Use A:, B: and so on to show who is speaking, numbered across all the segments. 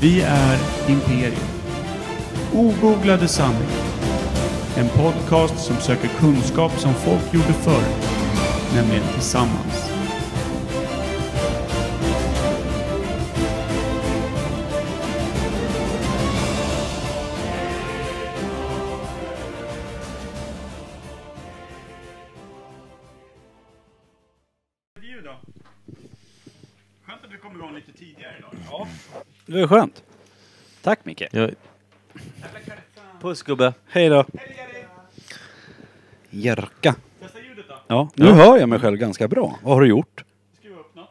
A: Vi är Imperium. Ogooglade sanningar. En podcast som söker kunskap som folk gjorde förr, nämligen tillsammans.
B: ljud då. Skönt att vi kom igång lite tidigare idag. Ja.
C: Det var skönt. Tack Micke.
D: Jag... Puss gubbe.
C: Hej då.
B: Hej Jerry!
C: Jerka.
B: Testa ljudet då.
C: Ja, nu hör jag mig själv ganska bra. Vad har du gjort?
B: Skruva upp något.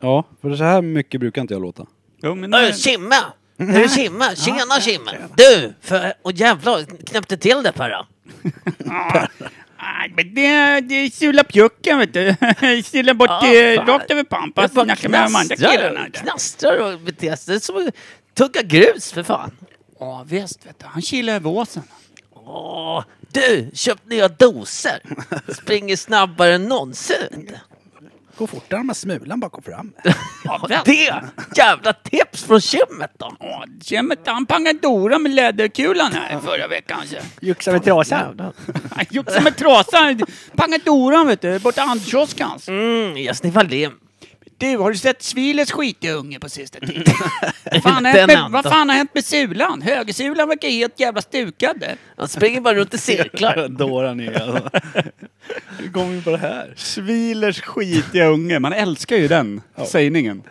C: Ja, för så här mycket brukar inte jag låta.
A: Jo, men
B: Mm.
D: Öh, Kimma! Är det Kimma? Tjena Kimma! Du! För, och jävlar, knäppte till det Perra.
B: Men det, det sula pjucken vet du. Sula bort
D: Ah, eh, fan. rakt
B: över
D: Jag
B: pampan.
D: bara knastrar, och- knastrar och beter sig som att tugga grus för fan.
B: Ja visst vet du. Han kilar över åsen.
D: Åh, du! Köpt nya doser. Springer snabbare än någonsin.
C: Gå fortare med smulan bakom fram.
D: Ja, det! Jävla tips från gymmet då!
B: Ja, Kemet han pangade Dora med läderkulan här förra veckan. så.
C: Juxa med trasan.
D: Jävlar.
B: Han gjorde som en trasa. Pangade Dora vet du. Borta handkiosken. hans.
D: Mm, jag sniffar lim.
B: Du, har du sett Sviles skitunge på sista tiden? vad, fan har
D: Den
B: hänt med,
D: Anton.
B: vad fan har hänt med sulan? Högersulan verkar helt jävla stukad.
D: Han springer bara runt i cirklar.
C: Dåran är alltså. Hur kom vi på det här?
B: Svilers skitiga unge. Man älskar ju den sägningen.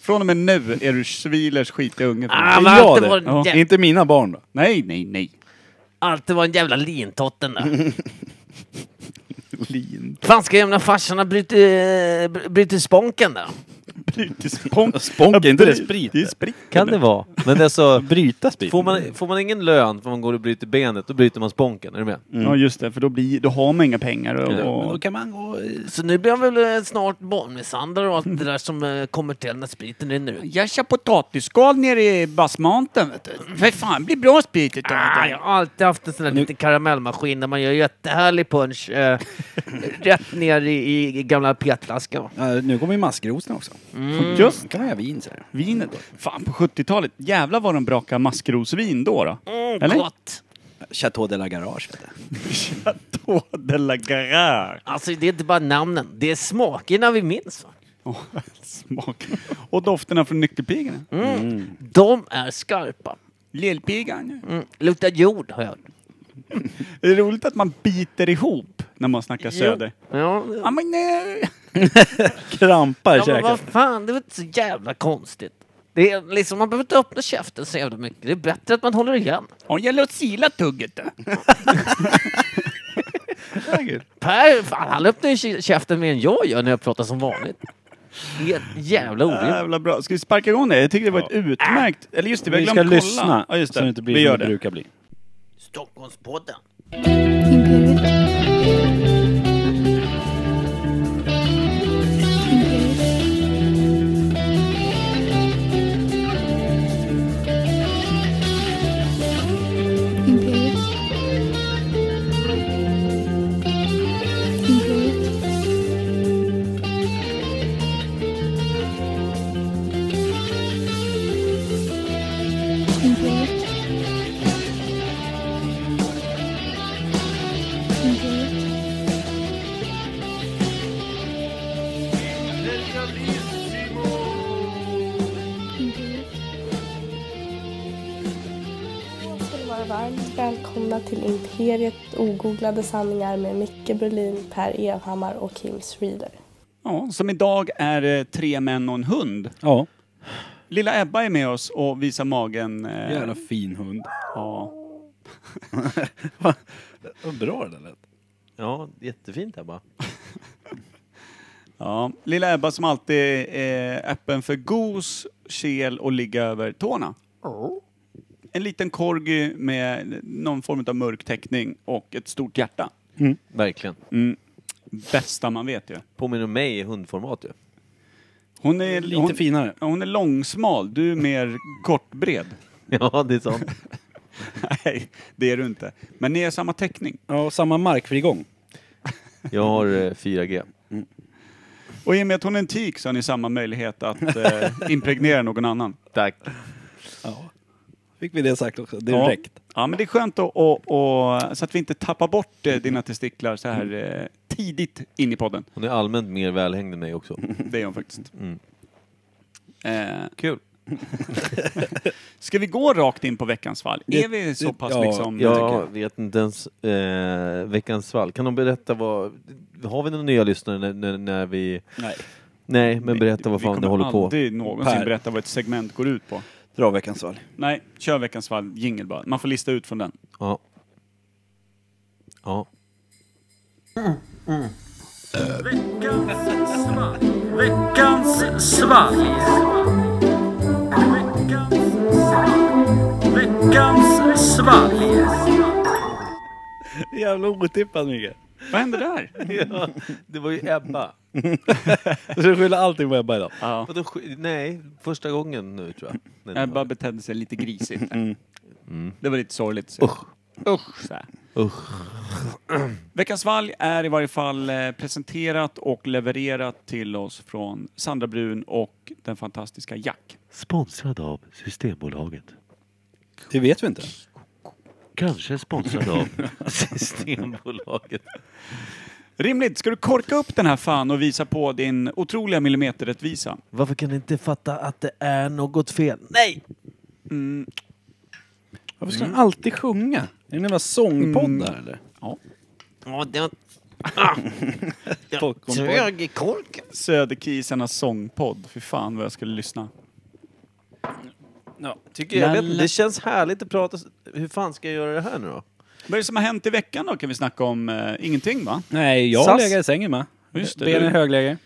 B: Från och med nu är du Svilers skitiga unge.
D: Ah,
C: det
D: men
C: är
D: alltid
C: jag
D: var
C: det.
D: en
C: Ja.
D: jävla-
C: Inte mina barn då.
B: Nej, nej, nej.
D: Alltid var en jävla lintotten där.
C: Lin.
D: Fan ska jävla farsan ha brutit, eh, brutit sponken där?
B: Spånk.
C: Spånk, är inte det sprit?
B: Det är sprit.
E: Kan det vara. Men alltså,
C: Bryta sprit.
E: får, man, får man ingen lön för man går och bryter benet, då bryter man sponken. Är du med?
B: Ja, just det. För då, blir, då har man inga pengar.
C: Men
B: Och,
C: då
B: och,
C: kan man gå...
D: Så nu blir han väl eh, snart barnmisshandlare och allt det där som eh, kommer till när spriten rinner ut.
B: jag kör potatisskal nere i Bassmountain, vet du. För fan, det blir bra sprit utav
D: Ah,
B: det.
D: jag har alltid haft en sån där liten karamellmaskin där man gör jättehärlig punch eh, rätt ner i, i, i gamla petflaskan.
C: Ja, nu kommer ju maskrosorna också.
B: Just
C: Kan man göra vin ser du.
B: vinet. Fan, på 70-talet, jävlar vad de brakade maskrosvin då. då.
D: Mm,
B: Eller?
D: gott!
C: Chateau de la Garage vet du.
B: Chateau de la Garage.
D: Alltså det är inte bara namnen, det är smakerna vi minns. Va?
B: Åh, smak. Och dofterna från nyckelpigorna.
C: Mm.
D: De är skarpa.
B: Lillpigan.
D: Mm. Luktar jord har jag hört.
B: Det är roligt att man biter ihop när man snackar söder.
D: Ja,
B: Ja, men eh. nej.
C: Krampar i
D: Ja, men vad
C: käken.
D: fan, det är väl inte så jävla konstigt. Det är liksom, man behöver inte öppna käften så jävla mycket. Det är bättre att man håller igen.
B: Ja, jag låt sila tugget då.
D: Per, fan, han öppnar ju kä- käften mer än jag gör när jag pratar som vanligt. Helt jävla orimligt.
B: Jävla bra. Ska vi sparka igång det? Jag tycker det var ett utmärkt... Eller just det, vi har
C: Vi
B: glömt
C: Äh! ska
B: kolla.
C: lyssna
B: Ja, just det.
C: så det inte blir
B: vi
C: som
B: gör
C: det
B: det.
C: brukar bli.
D: Stockholmspodden.
F: Imperial. Imperial. Imperial. Imperial. Imperial.
G: ska ni vara varmt välkomna till Imperiet ogooglade sanningar med Micke Berlin, Per Evhammar och Kim Schreeder.
B: Ja, som idag är eh, tre män och en hund.
C: Ja.
B: Lilla Ebba är med oss och visar magen. eh,
C: Jävla fin hund.
B: Ja.
C: Vad bra det där lät.
E: Ja, jättefint Ebba.
B: ja. Lilla Ebba som alltid är öppen för gos, kel och ligga över tårna. En liten korgi med någon form av mörk teckning och ett stort hjärta.
E: Verkligen.
B: Bästa man vet ju.
E: Mm. Påminner om mig i hundformat ju.
B: Hon är,
C: Lite
B: hon,
C: finare.
B: Ja, Hon är långsmal, du är mer kortbred.
E: Ja, det är sant.
B: Nej, det är du inte. Men ni är samma teckning.
C: Ja, och samma markfrigång.
E: Jag har eh, 4G.
B: Och i och med att hon är en tik så har ni samma möjlighet att eh, impregnera någon annan.
E: Tack.
C: Ja. Fick vi det sagt också
B: Ja.
C: direkt.
B: Ja, men det är skönt att, och, och, så att vi inte tappar bort eh, dina testiklar så
C: Mm.
B: här eh, tidigt in i podden.
E: Hon är allmänt mer välhängd än mig också.
B: Det är hon faktiskt.
E: Mm.
B: Eh,
E: Kul.
B: ska vi gå rakt in på veckans fall?
C: Det-
B: är vi så
C: det-
B: pass
C: ja,
B: liksom...
E: Jag vet inte ens eh, veckans svalg. Kan de berätta vad... Har vi några nya lyssnare när, när, när vi...
C: Nej.
E: Nej, men berätta vad
B: vi
E: fan
B: kommer
E: du håller på.
B: aldrig någonsin
C: Per.
B: berätta vad ett segment går ut på.
C: Dra veckans val.
B: Nej, kör veckans fall, jingel bara. Man får lista ut från den.
E: Ja. Ja.
C: Jävla otippat Mikael.
B: Vad hände där?
E: ja. Det var ju Ebba.
C: Du ska skylla allting på Ebba idag.
B: Ja.
E: Vadå sk- Nej, första gången nu tror jag.
C: Äh,
E: Nej, det
B: Ebba
E: var-
B: betedde Äh, sig lite grisigt. Det var lite sorgligt.
E: Mm. Usch.
B: Usch, så här.
E: Usch.
B: Veckans valg är i varje fall eh, presenterat och levererat till oss från Sandra Brun och den fantastiska Jack.
H: Sponsrad av Systembolaget.
C: Det vet vi inte.
H: Kanske sponsrad av
E: Systembolaget.
B: Rimligt, ska du korka upp den här fan och visa på din otroliga millimeterrättvisa?
E: Varför kan ni inte fatta att det är något fel? Nej!
C: Varför ska han alltid sjunga? Är det en jävla
B: Mm.
C: sångpodd där eller?
D: Ja, den
C: Folkkonpodd.
D: trög i korken.
B: Söderkisarnas sångpodd, fy fan vad jag skulle lyssna.
C: Ja,
E: Tycker jag, jag vet, inte, det känns härligt att prata... s- Hur fan ska jag göra det här nu då?
B: Vad är det som har hänt i veckan då kan vi snacka om? Eh, ingenting va?
C: Nej, jag har
E: SAS.
C: legat i sängen med.
B: Just det,
C: Benen
B: du-
C: i högläge.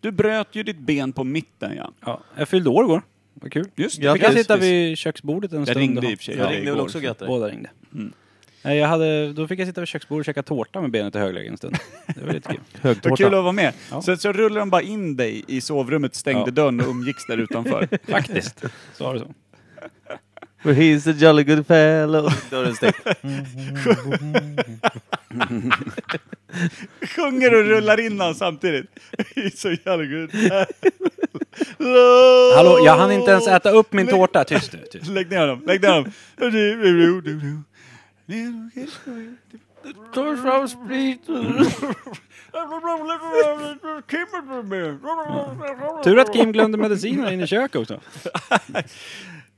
B: Du bröt ju ditt ben på mitten ja.
C: Ja, jag fyllde år igår. Vad kul.
B: Just det.
E: Ja,
C: Jag fick jag
E: precis.
C: sitta vid köksbordet en
B: Jag
C: stund.
B: ringde
C: och-
B: i och för sig
E: Jag
B: dig
E: ringde väl
B: igår.
E: också och grattade
C: Båda ringde. Mm. Nej, Jag hade, då fick jag sitta vid köksbordet och käka tårta med benet i högläge en stund. Det var lite kul.
B: Vad kul att vara med.
C: Ja.
B: Så, så rullade de bara in dig i sovrummet, stängde
C: Ja.
B: dörren och umgicks där utanför.
C: Faktiskt. Så var det så.
E: For he's a jolly good fellow. Dörren stängd.
B: Sjunger och rullar in han samtidigt. Det är så jävla gud.
C: Hallå, jag hann inte ens äta upp min tårta. Tyst nu. Tyst.
B: Lägg ner dem, lägg ner dem.
D: Tar fram spriten.
C: Tur att Kim glömde medicinen in i köket också.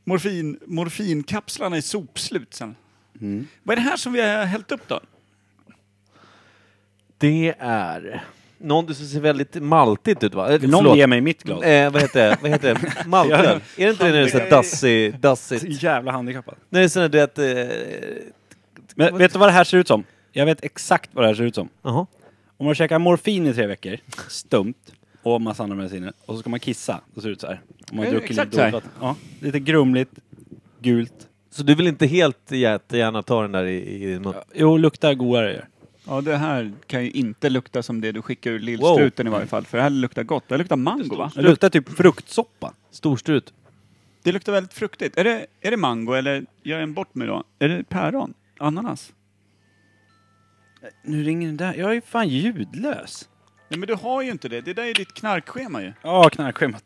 B: Morfin, morfinkapslarna är sopslut sen. Vad är det här som vi har hällt upp då?
E: Det är... Någonting som ser väldigt maltigt ut va? Eh,
C: Någon
E: förlåt.
C: ger mig mitt glas.
E: Eh, vad heter det? Vad heter det? Maltöl? är det inte det när det är så här dassigt? dassigt?
C: Jävla handikappad.
E: När det är sån här, du vet... eh,
C: Men vet du vad det här ser ut som? Jag vet exakt vad det här ser ut som.
E: Jaha.
C: Om man käkar morfin i tre veckor, stumt, och massa andra mediciner, och så ska man kissa, då ser det ut så här. Om man
B: Ja,
C: druckit lite
B: Eh, exakt så här.
C: dåligt vatten. Ja, lite grumligt, gult.
E: Så du vill inte helt jättegärna ta den där i, i mun?
C: Jo, luktar godare gör.
B: Ja, det här kan ju inte lukta som det du skickar ur lillstruten i varje fall. För det här luktar gott. Det luktar mango va?
C: Det luktar typ fruktsoppa.
E: Storstrut.
B: Det luktar väldigt fruktigt. Är det, är det mango eller, gör jag en bort mig då? Är det päron? Ananas?
C: Nu ringer den där. Jag är ju fan ljudlös.
B: Nej men du har ju inte det. Det där är ditt knarkschema ju.
C: Ja, knarkschemat.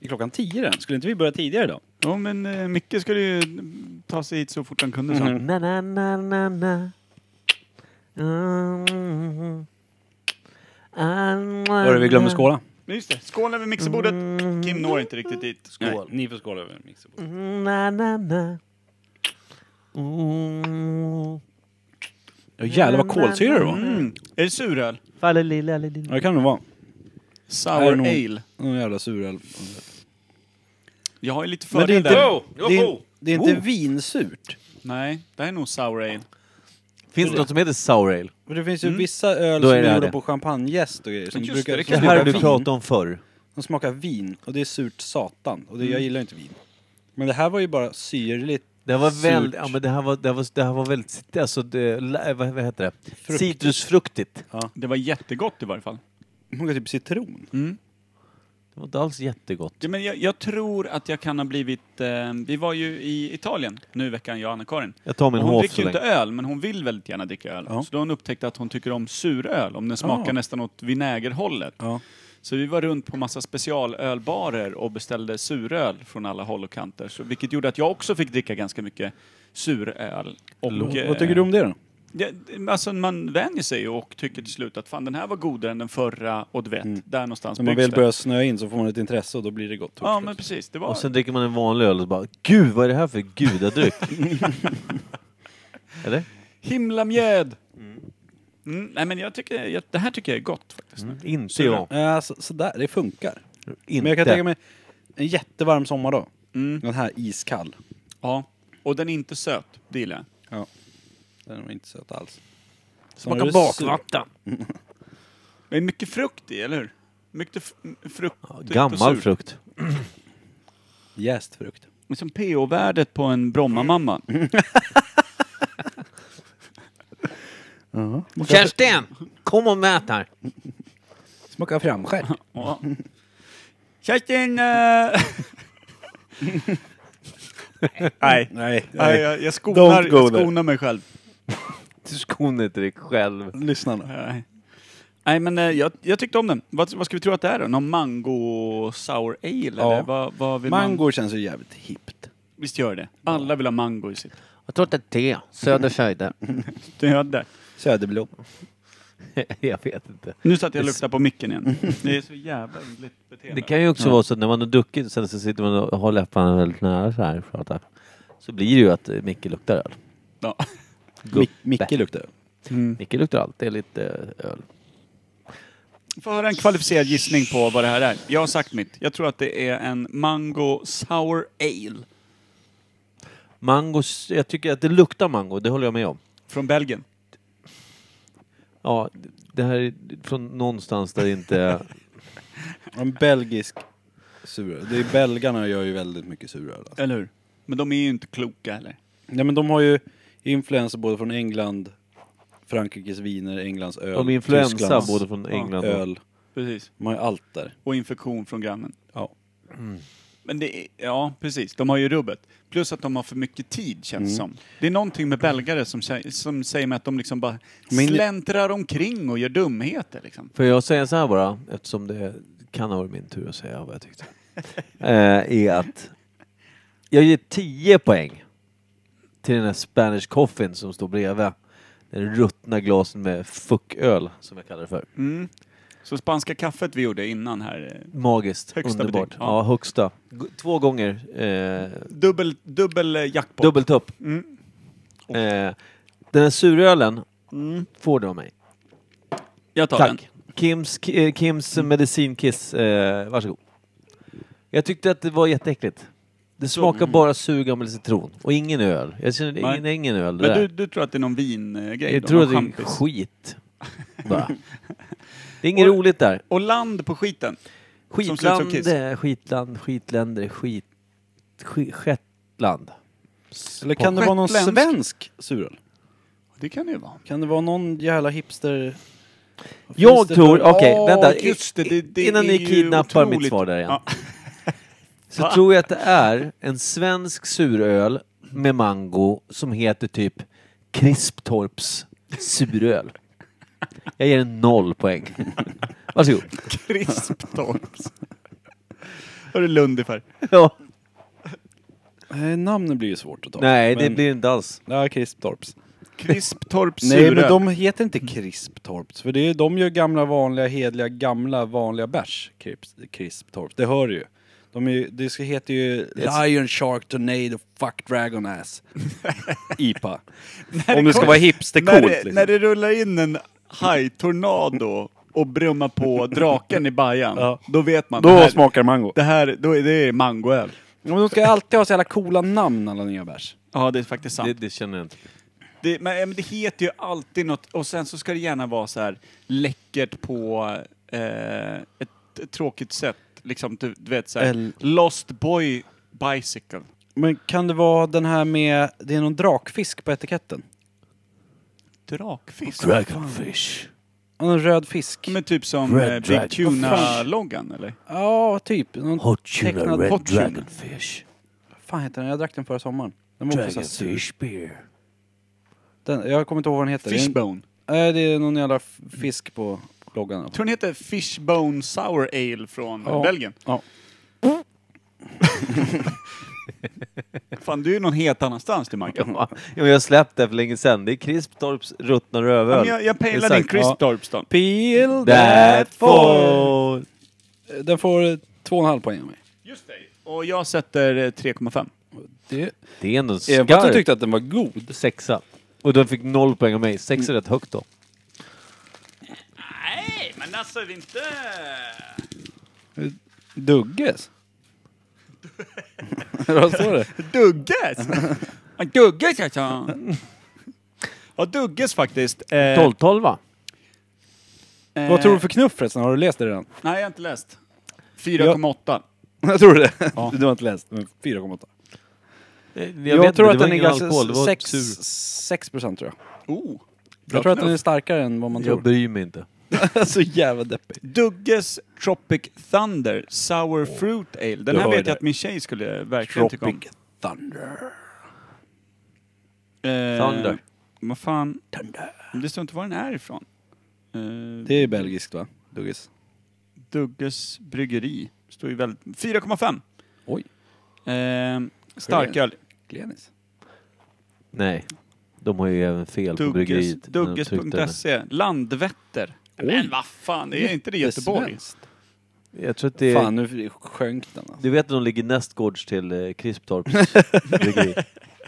C: Det är klockan tio redan. Skulle inte vi börja tidigare då?
B: Ja men eh, Micke skulle ju mm, ta sig hit så fort han kunde så.
E: Na, na, na, na, na. Mm.
C: Var det vi glömde skåla?
B: Men just det, skål över mixerbordet. Kim når inte riktigt dit.
C: Skål. ni får skåla över mixerbordet.
E: Na, na, na. Mm.
C: Ja, jävlar vad kolsyra det var.
B: Mm. Är det suröl?
E: Falle lilla lilla.
C: Ja, det kan det vara. Här är
B: Sour
C: nog-
B: ale.
C: Någon jävla suröl.
B: Jag har ju lite
C: Men
B: fördel
C: det är inte,
B: där.
C: det är, det är inte
B: Oh.
C: vinsurt.
B: Nej, det här är nog sour ale.
E: Finns det något som heter sour ale?
C: Men det finns ju vissa öl
E: Då
C: som
E: är det
C: är
E: här
C: gjorda
E: det.
C: på champagnejäst och grejer. Som
B: Just det,
C: brukar,
B: det
C: som
E: Det
B: kan
E: här
C: smakar
E: har du
C: vin.
E: pratat om förr.
C: De smakar vin och det är surt satan. Och det, jag gillar inte vin. Men det här var ju bara syrligt.
E: Det här var
C: Surt.
E: väldigt, ja men det här var, det här var, det här var väldigt, alltså det, la- vad, vad heter det?
C: Fruktigt.
E: Citrusfruktigt.
B: Det var jättegott i varje fall.
C: Det smakar typ citron.
B: Mm.
E: Det var inte alls jättegott.
B: Ja, men jag, jag tror att jag kan ha blivit... Eh, vi var ju i Italien nu i veckan, jag och Anna-Karin.
E: Jag tar min
B: Och Hon
E: hof
B: dricker
E: så
B: ju inte
E: länge.
B: öl, men hon vill väldigt gärna dricka öl.
C: Ja.
B: Så då har hon upptäckt att hon tycker om suröl, om den smakar
C: Ja.
B: nästan åt vinägerhållet.
C: Ja.
B: Så vi var runt på massa specialölbarer och beställde suröl från alla håll och kanter. Så, vilket gjorde att jag också fick dricka ganska mycket suröl. Och, eh,
C: Vad tycker du om det då?
B: Ja, det- alltså man vänjer sig och tycker till slut att fan den här var godare än den förra och du vet, där någonstans
C: När Mm. man
B: byggs
C: väl
B: det.
C: börjar snöa in så får man ett intresse och då blir det gott.
B: Ja men precis, det var...
E: Och sen dricker man en vanlig öl och så bara Gud, vad är det här för gudadryck? Eller?
B: Himlamjöd! Mm, nej men jag tycker, jag, det här tycker jag är gott faktiskt.
E: Inte jag.
C: Ja, Eh, så, sådär, det funkar.
E: Inte.
C: Men jag kan tänka mig en jättevarm sommardag.
B: Mm.
C: Den här iskall.
B: Ja. Och den är inte söt, det gillar jag.
C: Ja. Den var inte söt alls.
D: Smakar bakvatten.
B: Det är mycket frukt i, eller hur? Mycket f- frukt. och
E: Gammal
B: surt.
E: frukt.
C: Jäst frukt.
B: Det är Som PO-värdet Liksom på en Brommamamma.
E: Mm.
D: Kerstin! Kom och mät här.
C: Smakar framskärt.
B: Ja. Kerstin! eh, nej.
C: Nej,
B: nej,
C: nej.
B: jag, jag skonar,
E: Don't go
B: jag
E: there.
B: skonar mig själv.
E: Du skonar inte dig själv.
C: Lyssna nu.
B: Nej, Nej, men eh, jag, jag tyckte om den. Vad, vad ska vi tro att det är då? Någon mango sour ale? Eller? Vad, vad vill Man,
C: Mango känns ju jävligt hippt.
B: visst gör det? Alla vill ha mango i sitt.
D: Jag tror att det är te. Söders höjder.
B: Det är det.
C: Söderblom.
E: jag vet inte.
B: Nu satt jag och luktade på micken igen. Det är så jävla yndligt beteende.
E: Det kan ju också vara så att när man har druckit sen så sitter man och har läpparna väldigt nära så här och pratar. Så blir det ju att eh, Micke luktar öl.
B: Ja.
C: Mic- Micke luktar öl.
E: Micke luktar alltid lite eh, öl.
B: Får höra en kvalificerad gissning på vad det här är. Jag har sagt mitt. Jag tror att det är en mango sour ale.
E: Mango, s- jag tycker att det luktar mango, det håller jag med om.
B: Från Belgien.
E: Ja, d- det här är från någonstans där det inte...
C: En belgisk suröl. Det är belgarna gör ju väldigt mycket suröl. Alltså.
B: Eller hur? Men de är ju inte kloka heller.
C: Nej men de har ju influenser både från England, Frankrikes viner, Englands öl,
E: Om influensa
C: Tysklands
E: både från England och...
C: öl.
B: Precis.
C: De har ju allt där.
B: Och infektion från grannen.
C: Ja.
B: Men det är, ja, precis. De har ju rubbet. Plus att de har för mycket tid, känns det som. Det är någonting med belgare som, sä- som säger mig att de liksom bara
C: Men-
B: släntrar omkring och gör dumheter. Liksom.
E: Får jag säga så här bara, eftersom det kan ha varit min tur att säga vad jag tyckte. eh, är att jag ger 10 poäng till den här Spanish coffin som står bredvid. Den ruttna glasen med fucköl, som jag kallar det för.
B: Mm. Så spanska kaffet vi gjorde innan här. eh,
E: Magiskt,
B: Högsta
E: underbart.
B: betyg, ja.
E: ja. högsta. G- Två gånger eh,
B: Dubbel, dubbel eh, jackpot.
E: Dubbelt upp.
B: Mm.
E: Eh, den här surölen
B: Mm.
E: får du av mig.
B: Jag tar den.
E: Tack. Kims, ki- eh, Kims medicinkiss. Eh, varsågod. Jag tyckte att det var jätteäckligt. Det smakar bara surgammal citron och ingen öl. Jag känner
B: Nej.
E: ingen, ingen öl
B: Men
E: där.
B: du, du tror att det är någon vingrej?
E: jag
B: då,
E: tror
B: någon
E: att det är
B: champis.
E: skit. Bara. Det är inget roligt där.
B: Och land på skiten. Som ser ut som
E: Skitland,
B: kiss.
E: eh, skitland, skitländer, skit... skit Shetland.
C: Eller kan det vara någon
B: Shetländsk.
C: svensk suröl?
B: Det kan det ju vara.
C: Kan det vara någon jävla hipster? Finns
E: Jag
C: det
E: tror,
C: för-
E: okej,
B: Ja,
E: vänta.
B: just det, det- det
E: Innan
B: är
E: ni
B: ju
E: kidnappar mitt
B: otroligt.
E: svar där igen.
B: Ja.
E: Så tror jag att det är en svensk suröl med mango som heter typ Krisptorps suröl. Jag ger den noll poäng. Varsågod.
B: Krisptorps. Hörru Lundifer.
E: Ja.
C: Nej, namnen blir ju svårt att ta.
E: Nej, det
C: Men-
E: blir inte alls.
C: Ja, Krisptorps.
B: Krisptorps
C: Nej, men
B: suröl.
C: de heter inte Krisptorps. För det är, de gör gamla, vanliga, hedliga, gamla, vanliga bärs. Krips- Krisptorps. Det hör du ju. De är, ju- det ska- heter ju Lion Shark Tornado Fuck Dragon Ass. IPA. Om det ska vara
B: när, det,
C: hipstercoolt liksom.
B: när det rullar in en hajtornado och brummar på draken i bajan,
C: Ja.
B: då vet man.
C: Då
B: det här,
C: smakar det mango.
B: det här då är det är mangoöl.
C: Men de ska alltid ha så jävla coola namn alla nya bärs.
B: Ja, det är faktiskt sant.
E: Det,
B: Det,
E: det känner jag inte.
B: men, men det heter ju alltid något, och sen så ska det gärna vara så här läckert på eh, ett tråkigt sätt. Liksom, du, du vet så här,
C: El-
B: Lost Boy Bicycle.
C: Men kan det vara den här med, det är någon drakfisk på etiketten?
B: Drakfisk.
E: Dragonfish.
C: Ja, Någon röd fisk?
B: Men typ som
E: Red
B: eh, Big
E: Dragon.
B: Tuna-loggan, eller?
C: Ja, typ. Någon
E: Hot tuna
C: tecknad
E: red
C: hot tuna.
E: dragonfish.
C: fan heter den? Jag drack den förra sommaren. Den var också så här sur.
E: Dragonfish beer.
C: Den, jag kommer inte ihåg vad den heter. Det är en-
B: Fishbone.
C: Nej, det är någon jävla f- fisk på bloggen. i alla fall.
B: tror den heter Fishbone Sour Ale från
C: Ja.
B: Belgien.
C: Ja.
B: Fan, du är ju någon helt annanstans till Mackan.
E: Ja, men jag har släppt det för länge sedan. Det är Krisptorps ruttna
B: Ja, men
E: rövel.
B: jag jag pejlar
E: Exakt.
B: din Crisp Torps då.
C: Peel
E: That
C: that fall!
E: fall.
C: Den får två och en halv poäng av mig.
B: Just det. Och jag sätter eh, 3,5.
C: Det,
E: Det är ändå en
C: Eva du
E: skarp
C: tyckte att den var god.
E: sexa. Och den fick noll poäng av mig. Sex är rätt högt då.
B: Nej, men alltså det är inte...
C: Dugges? Eh. Eller Vad står det?
B: Dugges! Ja, Dugges, jag sa. Ja, Dugges faktiskt. Eh,
D: 12-12 va?
B: eh,
C: Vad tror du för knuff förresten? Har du läst det redan?
B: Nej, jag har inte läst. 4,8.
C: Jag tror det. Du har inte läst. men 4,8.
E: Jag,
C: Jag, tror att den är ganska...
E: alkohol, det var
C: 6,
E: sur.
C: 6 procent tror jag.
B: Oh.
C: Jag tror att den är starkare än vad man
E: Jag
C: tror.
E: bryr mig inte.
C: Så jävla deppig.
B: Dugges Tropic Thunder Sour Fruit Ale. Den
C: Du
B: här
C: hör
B: vet
C: det.
B: jag att min tjej skulle verkligen tycka om.
C: Tropic Thunder.
E: Thunder.
B: Eh, Vad fan? Det står inte var den är ifrån. Eh,
C: Det är belgiskt va? Dugges.
B: Dugges Bryggeri. Står ju väldigt... 4,5.
C: Oj.
B: Eh, starköl.
C: Glenis.
E: Nej. De har ju även fel på
B: Dugges,
E: bryggeriet. när de tryckte den.
B: Dugges.se. Landvetter. Men vad fan, det är inte det Göteborg?
C: Svenskt.
E: Jag tror att det är...
C: Fan nu sjönk den alltså.
E: Du vet att de ligger nästgårds till eh, Krisptorps bryggeri?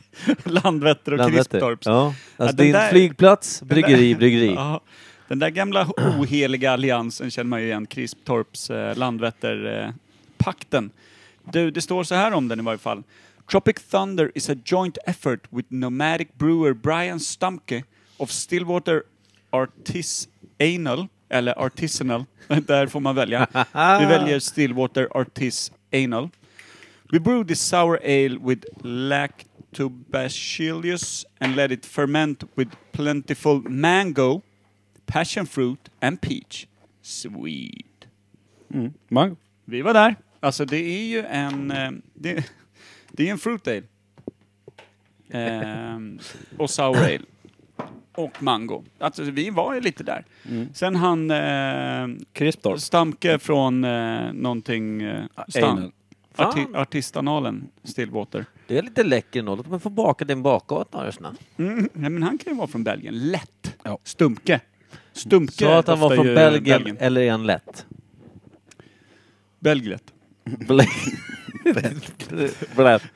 B: Landvetter och
E: Landvetter.
B: Krisptorps.
E: Ja.
B: Ja, den
E: Alltså det är en
B: där-
E: flygplats, bryggeri, bryggeri.
B: Ja. Den där gamla oheliga alliansen känner man ju igen, Krisptorps, eh, Landvetter, eh, pakten. Du, det står så här om den i varje fall. Tropic Thunder is a joint effort with nomadic brewer Brian Stumke of Stillwater Artisanal, eller Artisanal, där får man välja. Vi väljer Stillwater Artisanal. We brew this sour ale with lactobacillus and let it ferment with plentiful mango, passion fruit and peach. Sweet.
C: Mango.
B: Vi var där. Alltså det är ju en... eh, Det, det är en fruit ale. Ehm, och sour ale. Och mango. Alltså vi var ju lite där. Sen han... Eh,
C: Krispdorf.
B: Stamke från eh, någonting... Eh,
C: Anal.
B: stam, arti, artistanalen Stillwater.
E: Det är lite läcker ändå. Låt mig få baka din bakgata här snabbt.
B: Mm, nej, men han kan ju vara från Belgien. Lätt!
C: Ja.
B: Stumke. Stumke
E: Sa att han var
B: ofta
E: från
B: ju
E: Belgien, eller är han lätt?
B: Belglet.
E: Blätt.
B: Blätt.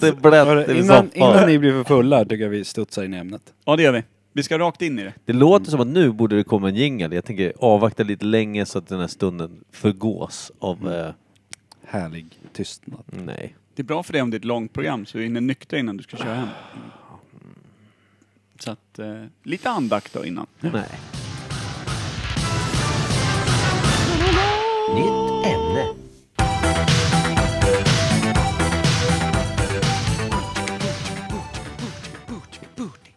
E: Det är blätt i
C: Innan, innan
E: soffan.
C: ni blir för fulla tycker jag vi studsar in i ämnet.
B: Ja, det gör vi. Vi ska rakt in i det.
E: Det låter som att nu borde det komma en jingel. Jag tänker avvakta lite länge så att den här stunden förgås av... Eh,
C: Härlig tystnad.
E: nej.
B: Det är bra för dig om det är ett långt program så du hinner nyktra innan du ska köra hem. Så att, eh, lite andakt då innan.
E: Nej.
H: Nytt ämne.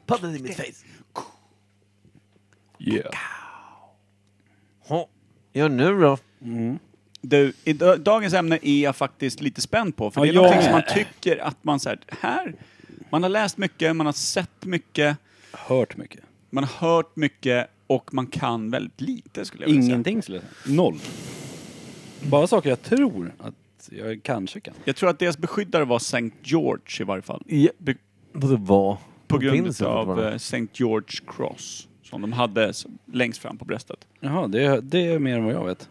E: Paddeln i mitt face.
C: Yeah.
E: Ha. Ja nu då.
B: Du, i da- dagens ämne är jag faktiskt lite spänd på. För
C: Ja,
B: det är
C: jag
B: någonting som man
C: med.
B: tycker att man så här, här, man har läst mycket, man har sett mycket,
C: Hört mycket.
B: man har hört mycket och man kan väldigt lite skulle jag vilja säga.
C: Ingenting skulle jag säga. Noll. Bara saker jag tror att jag kanske kan.
B: Jag tror att deras beskyddare var St. George i varje fall.
E: Ja.
B: Be-
E: Vadå vad?
B: på
E: Vad finns
B: grund
E: det
B: av
E: fortfarande?
B: eh, St. George Cross som de hade s- längst fram på bröstet.
C: Jaha, det är, det är mer än vad jag vet.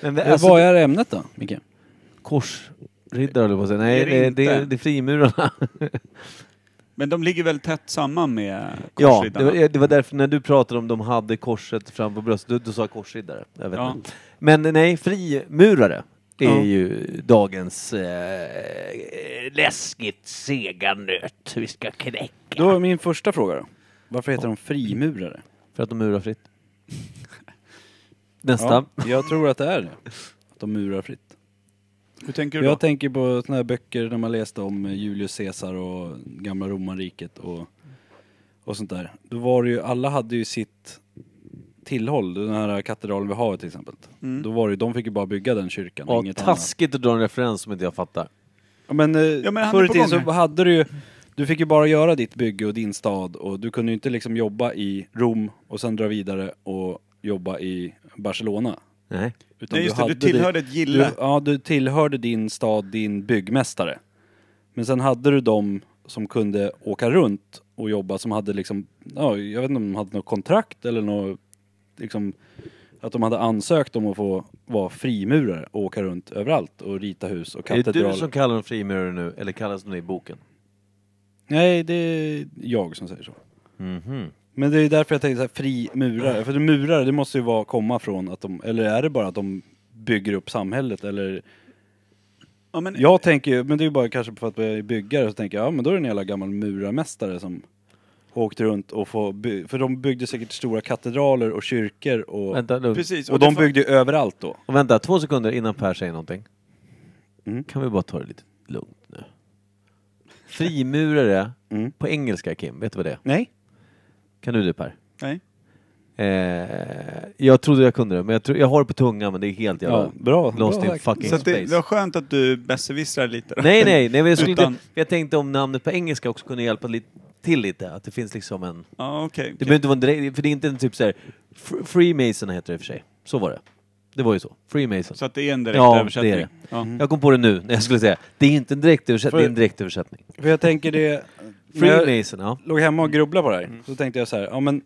E: Men
C: Eh,
E: alltså,
C: vad är ämnet då, Micke?
E: Korsriddare höll jag på att säga. Nej,
B: Är
E: det,
B: det
E: det,
B: inte?
E: det, är frimurarna.
B: Men de ligger väl tätt samman med
E: ja, det
B: korsriddarna?
E: var, det var därför när du pratade om de hade korset fram på bröstet, du, du sa korsriddare. Jag vet
B: Ja.
E: inte. Men nej, frimurare är
B: Ja.
E: ju dagens eh, läskigt sega nöt vi ska knäcka.
C: Då är min första fråga då. Varför heter de frimurare?
E: För att de murar fritt. Nästa.
C: Ja, jag tror att det är det. Att de murar fritt.
B: Hur tänker du då?
C: Jag tänker på såna här böcker när man läste om Julius Caesar och gamla romarriket och, och sånt där. Då var det ju, alla hade ju sitt tillhåll, den här katedralen vid havet till exempel.
B: Mm.
C: Då var det ju, de fick ju bara bygga den kyrkan,
E: Ja,
C: inget annat.
E: taskigt att dra en referens som inte jag fattar.
C: Ja men, eh,
B: men han är
C: förr i
B: på
C: tiden så
B: gång här.
C: hade du ju, Du fick ju bara göra ditt bygge och din stad och du kunde ju inte liksom jobba i Rom och sen dra vidare och jobba i Barcelona.
E: Nej.
C: Utan
B: Nej, just det, du
C: hade din-
B: tillhörde ett gille.
C: Du, ja, du tillhörde din stad, din byggmästare. Men sen hade du dem som kunde åka runt och jobba som hade liksom, ja, jag vet inte om de hade något kontrakt eller något, liksom, att de hade ansökt om att få vara frimurare och åka runt överallt och rita hus och
E: Är det
C: katedraler.
E: du som kallar dem frimurare nu, eller kallas de det i boken?
C: Nej, det är jag som säger så.
E: Mhm.
C: Men det är därför jag tänker så här, fri murare. För det murare, det måste ju vara, komma från att de, eller är det bara att de bygger upp samhället eller?
B: Ja, men,
C: Jag tänker ju, men det är ju bara kanske för att jag är byggare så tänker jag, ja men då är det en jävla gammal murarmästare som åkte runt och få by- för de byggde säkert stora katedraler och kyrkor och,
E: Vänta, lugn.
B: precis.
C: och
B: det
C: de
B: fa-
C: byggde ju överallt då.
E: Och vänta, två sekunder innan Per säger någonting.
C: Mm.
E: Kan vi bara ta det lite lugnt nu? Frimurare,
C: Mm.
E: på engelska Kim, vet du vad det är?
C: Nej?
E: Kan du det Per?
B: Nej.
E: Eh, jag trodde jag kunde det, men jag, tror, jag har det på tungan men det är helt jävla
C: Ja, bra.
E: lost
C: bra
E: in
C: sagt.
E: fucking
B: Så att det,
E: space.
B: det var skönt att du besserwissrar lite. då.
E: Nej, nej, nej men jag, skulle
B: Utan-
E: inte, jag tänkte om namnet på engelska också kunde hjälpa lite, till lite. Att det finns liksom en...
B: Ja, okej.
E: Det
B: okej.
E: behöver inte vara en direkt, för det är inte en typ såhär... Fr- Freemason heter det i och för sig. Så var det. Det var ju så. Freemason.
B: Så att det är en direkt
E: Ja,
B: översättning.
E: det är det.
B: Ja. Mm.
E: Jag kom på det nu när jag skulle säga. Det är inte en direkt översättning,
C: För-
E: det är en direkt översättning.
C: För jag tänker det, när jag
E: Freemason, ja.
C: låg hemma
B: Mm.
C: och grubblade på det här, så tänkte jag så här, ja men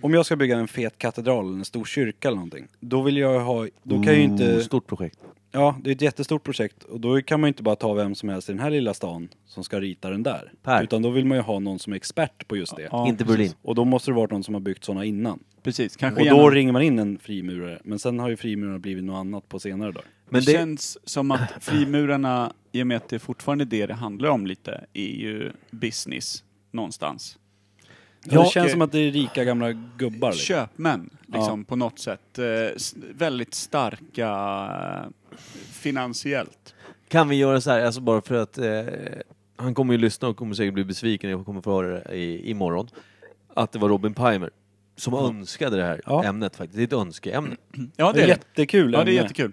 C: om jag ska bygga en fet katedral eller en stor kyrka eller någonting, då vill jag ha, då kan jag ju
B: Mm,
E: Oh,
C: inte
E: Stort projekt.
C: Ja, det är ett jättestort projekt och då kan man ju inte bara ta vem som helst i den här lilla stan som ska rita den där.
E: Per.
C: Utan då vill man ju ha någon som är expert på just det.
B: Ja,
E: inte
B: precis. Mm.
E: Berlin.
C: Och då måste det varit någon som har byggt sådana innan.
B: Precis, kanske
C: Och då
B: genom-
C: ringer man in en frimurare. Men sen har ju frimurarna blivit något annat på senare dagar.
E: Men
B: det,
E: det,
B: känns som att frimurarna, i och med att det är fortfarande det det handlar om lite, är ju business någonstans.
C: Ja,
B: Ja,
C: det känns
B: eh,
C: som att det är rika gamla gubbar. Liksom.
B: Köpmän, liksom, på något sätt. Eh, s- väldigt starka eh, finansiellt.
E: Kan vi göra så här, alltså bara för att eh, han kommer ju lyssna och kommer säkert bli besviken, jag kommer få höra det i, imorgon, att det var Robin Pimer som önskade det här
C: Ja.
E: ämnet faktiskt. Det är ett önskeämne.
B: Ja,
C: Det är jättekul.
B: Ja, det är
C: ämne.
B: jättekul.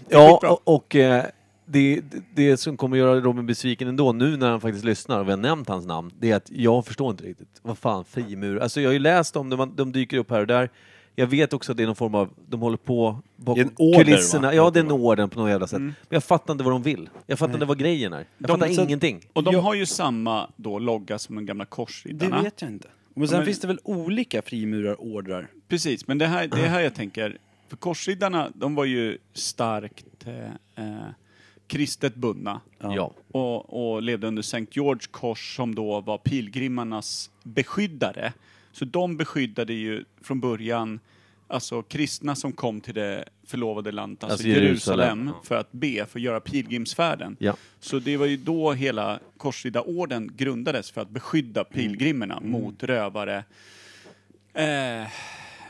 B: skitbra.
E: Ja, och, och eh, det, det- det som kommer göra Robin besviken ändå nu när han faktiskt lyssnar och vi har nämnt hans namn, det är att jag förstår inte riktigt. Vad fan, frimur. Alltså jag har ju läst om det, man, de dyker upp här och där. Jag vet också att det är någon form av, de håller på
C: Det är
E: bakom
C: en order,
E: kulisserna.
C: va? Mm.
E: Ja, det är en orden på något jävla sätt. Men jag fattar inte vad de vill. Jag fattar inte vad grejen är. Jag fattar
C: så-
E: ingenting.
B: Och de
C: Ja.
B: har ju samma då logga som de gamla
C: Det
B: korsriddarna.
C: vet jag inte. Men sen
B: Ja, men-
C: finns det väl olika frimurarordrar?
B: Precis, men det här, det här jag tänker, för korsriddarna, de var ju starkt eh, eh, kristet bundna.
E: Ja.
B: och, och levde under Sankt George kors som då var pilgrimarnas beskyddare. Så de beskyddade ju från början alltså kristna som kom till det förlovade landet, alltså,
E: Alltså
B: Jerusalem,
E: Jerusalem,
B: för att be, för att göra pilgrimsfärden.
E: Ja.
B: Så det var ju då hela korsriddarorden grundades för att beskydda pilgrimerna mot rövare, eh,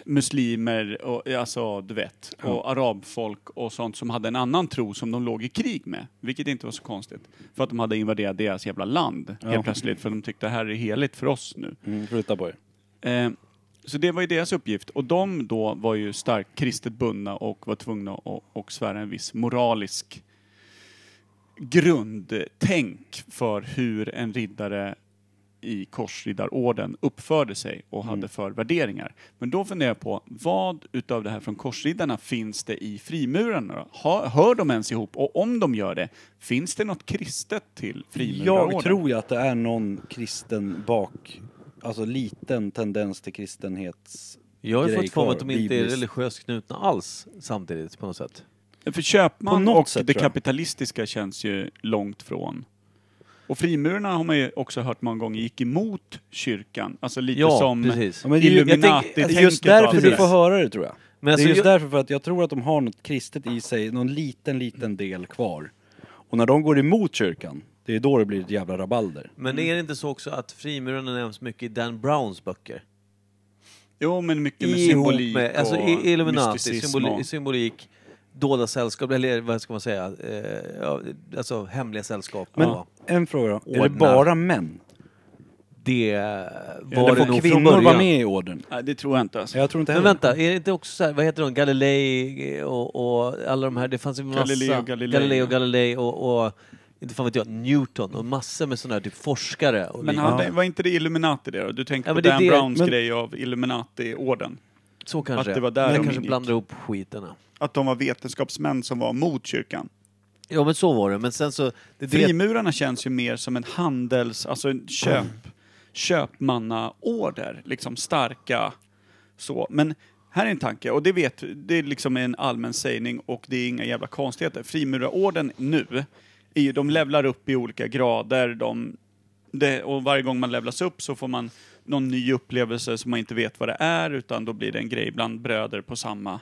B: muslimer, och, alltså du vet, och arabfolk och sånt som hade en annan tro som de låg i krig med. Vilket inte var så konstigt. För att de hade invaderat deras jävla land helt plötsligt. För de tyckte det här är heligt för oss nu.
C: Mm, Flytta på er.
B: Eh, så det var ju deras uppgift. Och de då var ju starkt kristet bundna och var tvungna att och svära en viss moralisk grundtänk för hur en riddare i korsriddarorden uppförde sig och
C: Mm.
B: hade för värderingar. Men då funderar jag på, vad utav det här från korsriddarna finns det i frimurarna? då? Ha, hör de ens ihop? Och om de gör det, finns det något kristet till frimurarorden?
C: Jag tror ju att det är någon kristen bak, alltså liten tendens till kristenhets...
E: Jag har ju
C: grej
E: fått för mig att de
C: kvar,
E: inte är
C: bibliskt.
E: religiöst knutna alls samtidigt på något sätt.
B: För
C: På
B: köpman
C: något
B: och
C: sätt,
B: det
C: tror jag.
B: kapitalistiska känns ju långt från. Och frimurarna har man ju också hört många gånger gick emot kyrkan. Alltså lite
E: Ja,
B: som
E: precis.
C: Ja, men det är ju- jag
E: tänker- alltså
B: Illuminati-tänket
E: just
B: och allt
E: därför
B: det
C: För
E: Precis.
C: du
B: där.
C: får höra det tror jag.
E: Men alltså,
C: det är just
E: jag-
C: därför för att jag tror att de har något kristet i sig, någon liten, liten del kvar. Och när de går emot kyrkan, det är då det blir ett jävla rabalder.
E: Men är det inte så också att frimurarna nämns mycket i Dan Browns böcker?
B: Jo, men mycket med
E: ihop
B: symbolik
E: med, alltså,
B: och
E: i- Illuminati,
B: mysticism
E: symboli,
B: och-
E: symbolik, dolda sällskap, eller vad ska man säga, eh, ja, alltså hemliga sällskap.
C: Men
E: ja.
C: en fråga då. Är det
E: Ordnar.
C: bara män?
E: Det var
C: Eller
E: det
C: får
E: nog från
C: kvinnor vara
E: början.
C: med i orden?
B: Nej, det tror jag inte. Alltså.
C: Jag tror inte
E: Men
C: heller.
E: vänta, är det inte också så här, vad heter de, Galilei och, och alla de här, det fanns ju massa...
B: Galileo Galilei.
E: Galileo Galilei och, och inte fan vet jag, Newton och massor med sådana här typ forskare. Och
B: Men
E: lik-
B: hade, var inte det Illuminati det då? Du tänker
E: Ja,
B: på
E: men det är
B: Dan
E: det-
B: Browns
E: men-
B: grej av Illuminati-orden.
E: så kanske.
B: att det var där de
E: jag kanske
B: ingick.
E: blandar ihop skiten.
B: Att de var vetenskapsmän som var mot kyrkan.
E: Ja men så var det, men sen så... Det, det,
B: Frimurarna känns ju mer som en handels... Alltså en köp...
E: Mm.
B: Köpmannaorder. Liksom starka... Så. Men här är en tanke, och det vet... Det är liksom en allmän sägning och det är inga jävla konstigheter. Frimurarorden nu, är ju, de levlar upp i olika grader. De, det, och varje gång man levlas upp så får man någon ny upplevelse som man inte vet vad det är, utan då blir det en grej bland bröder på samma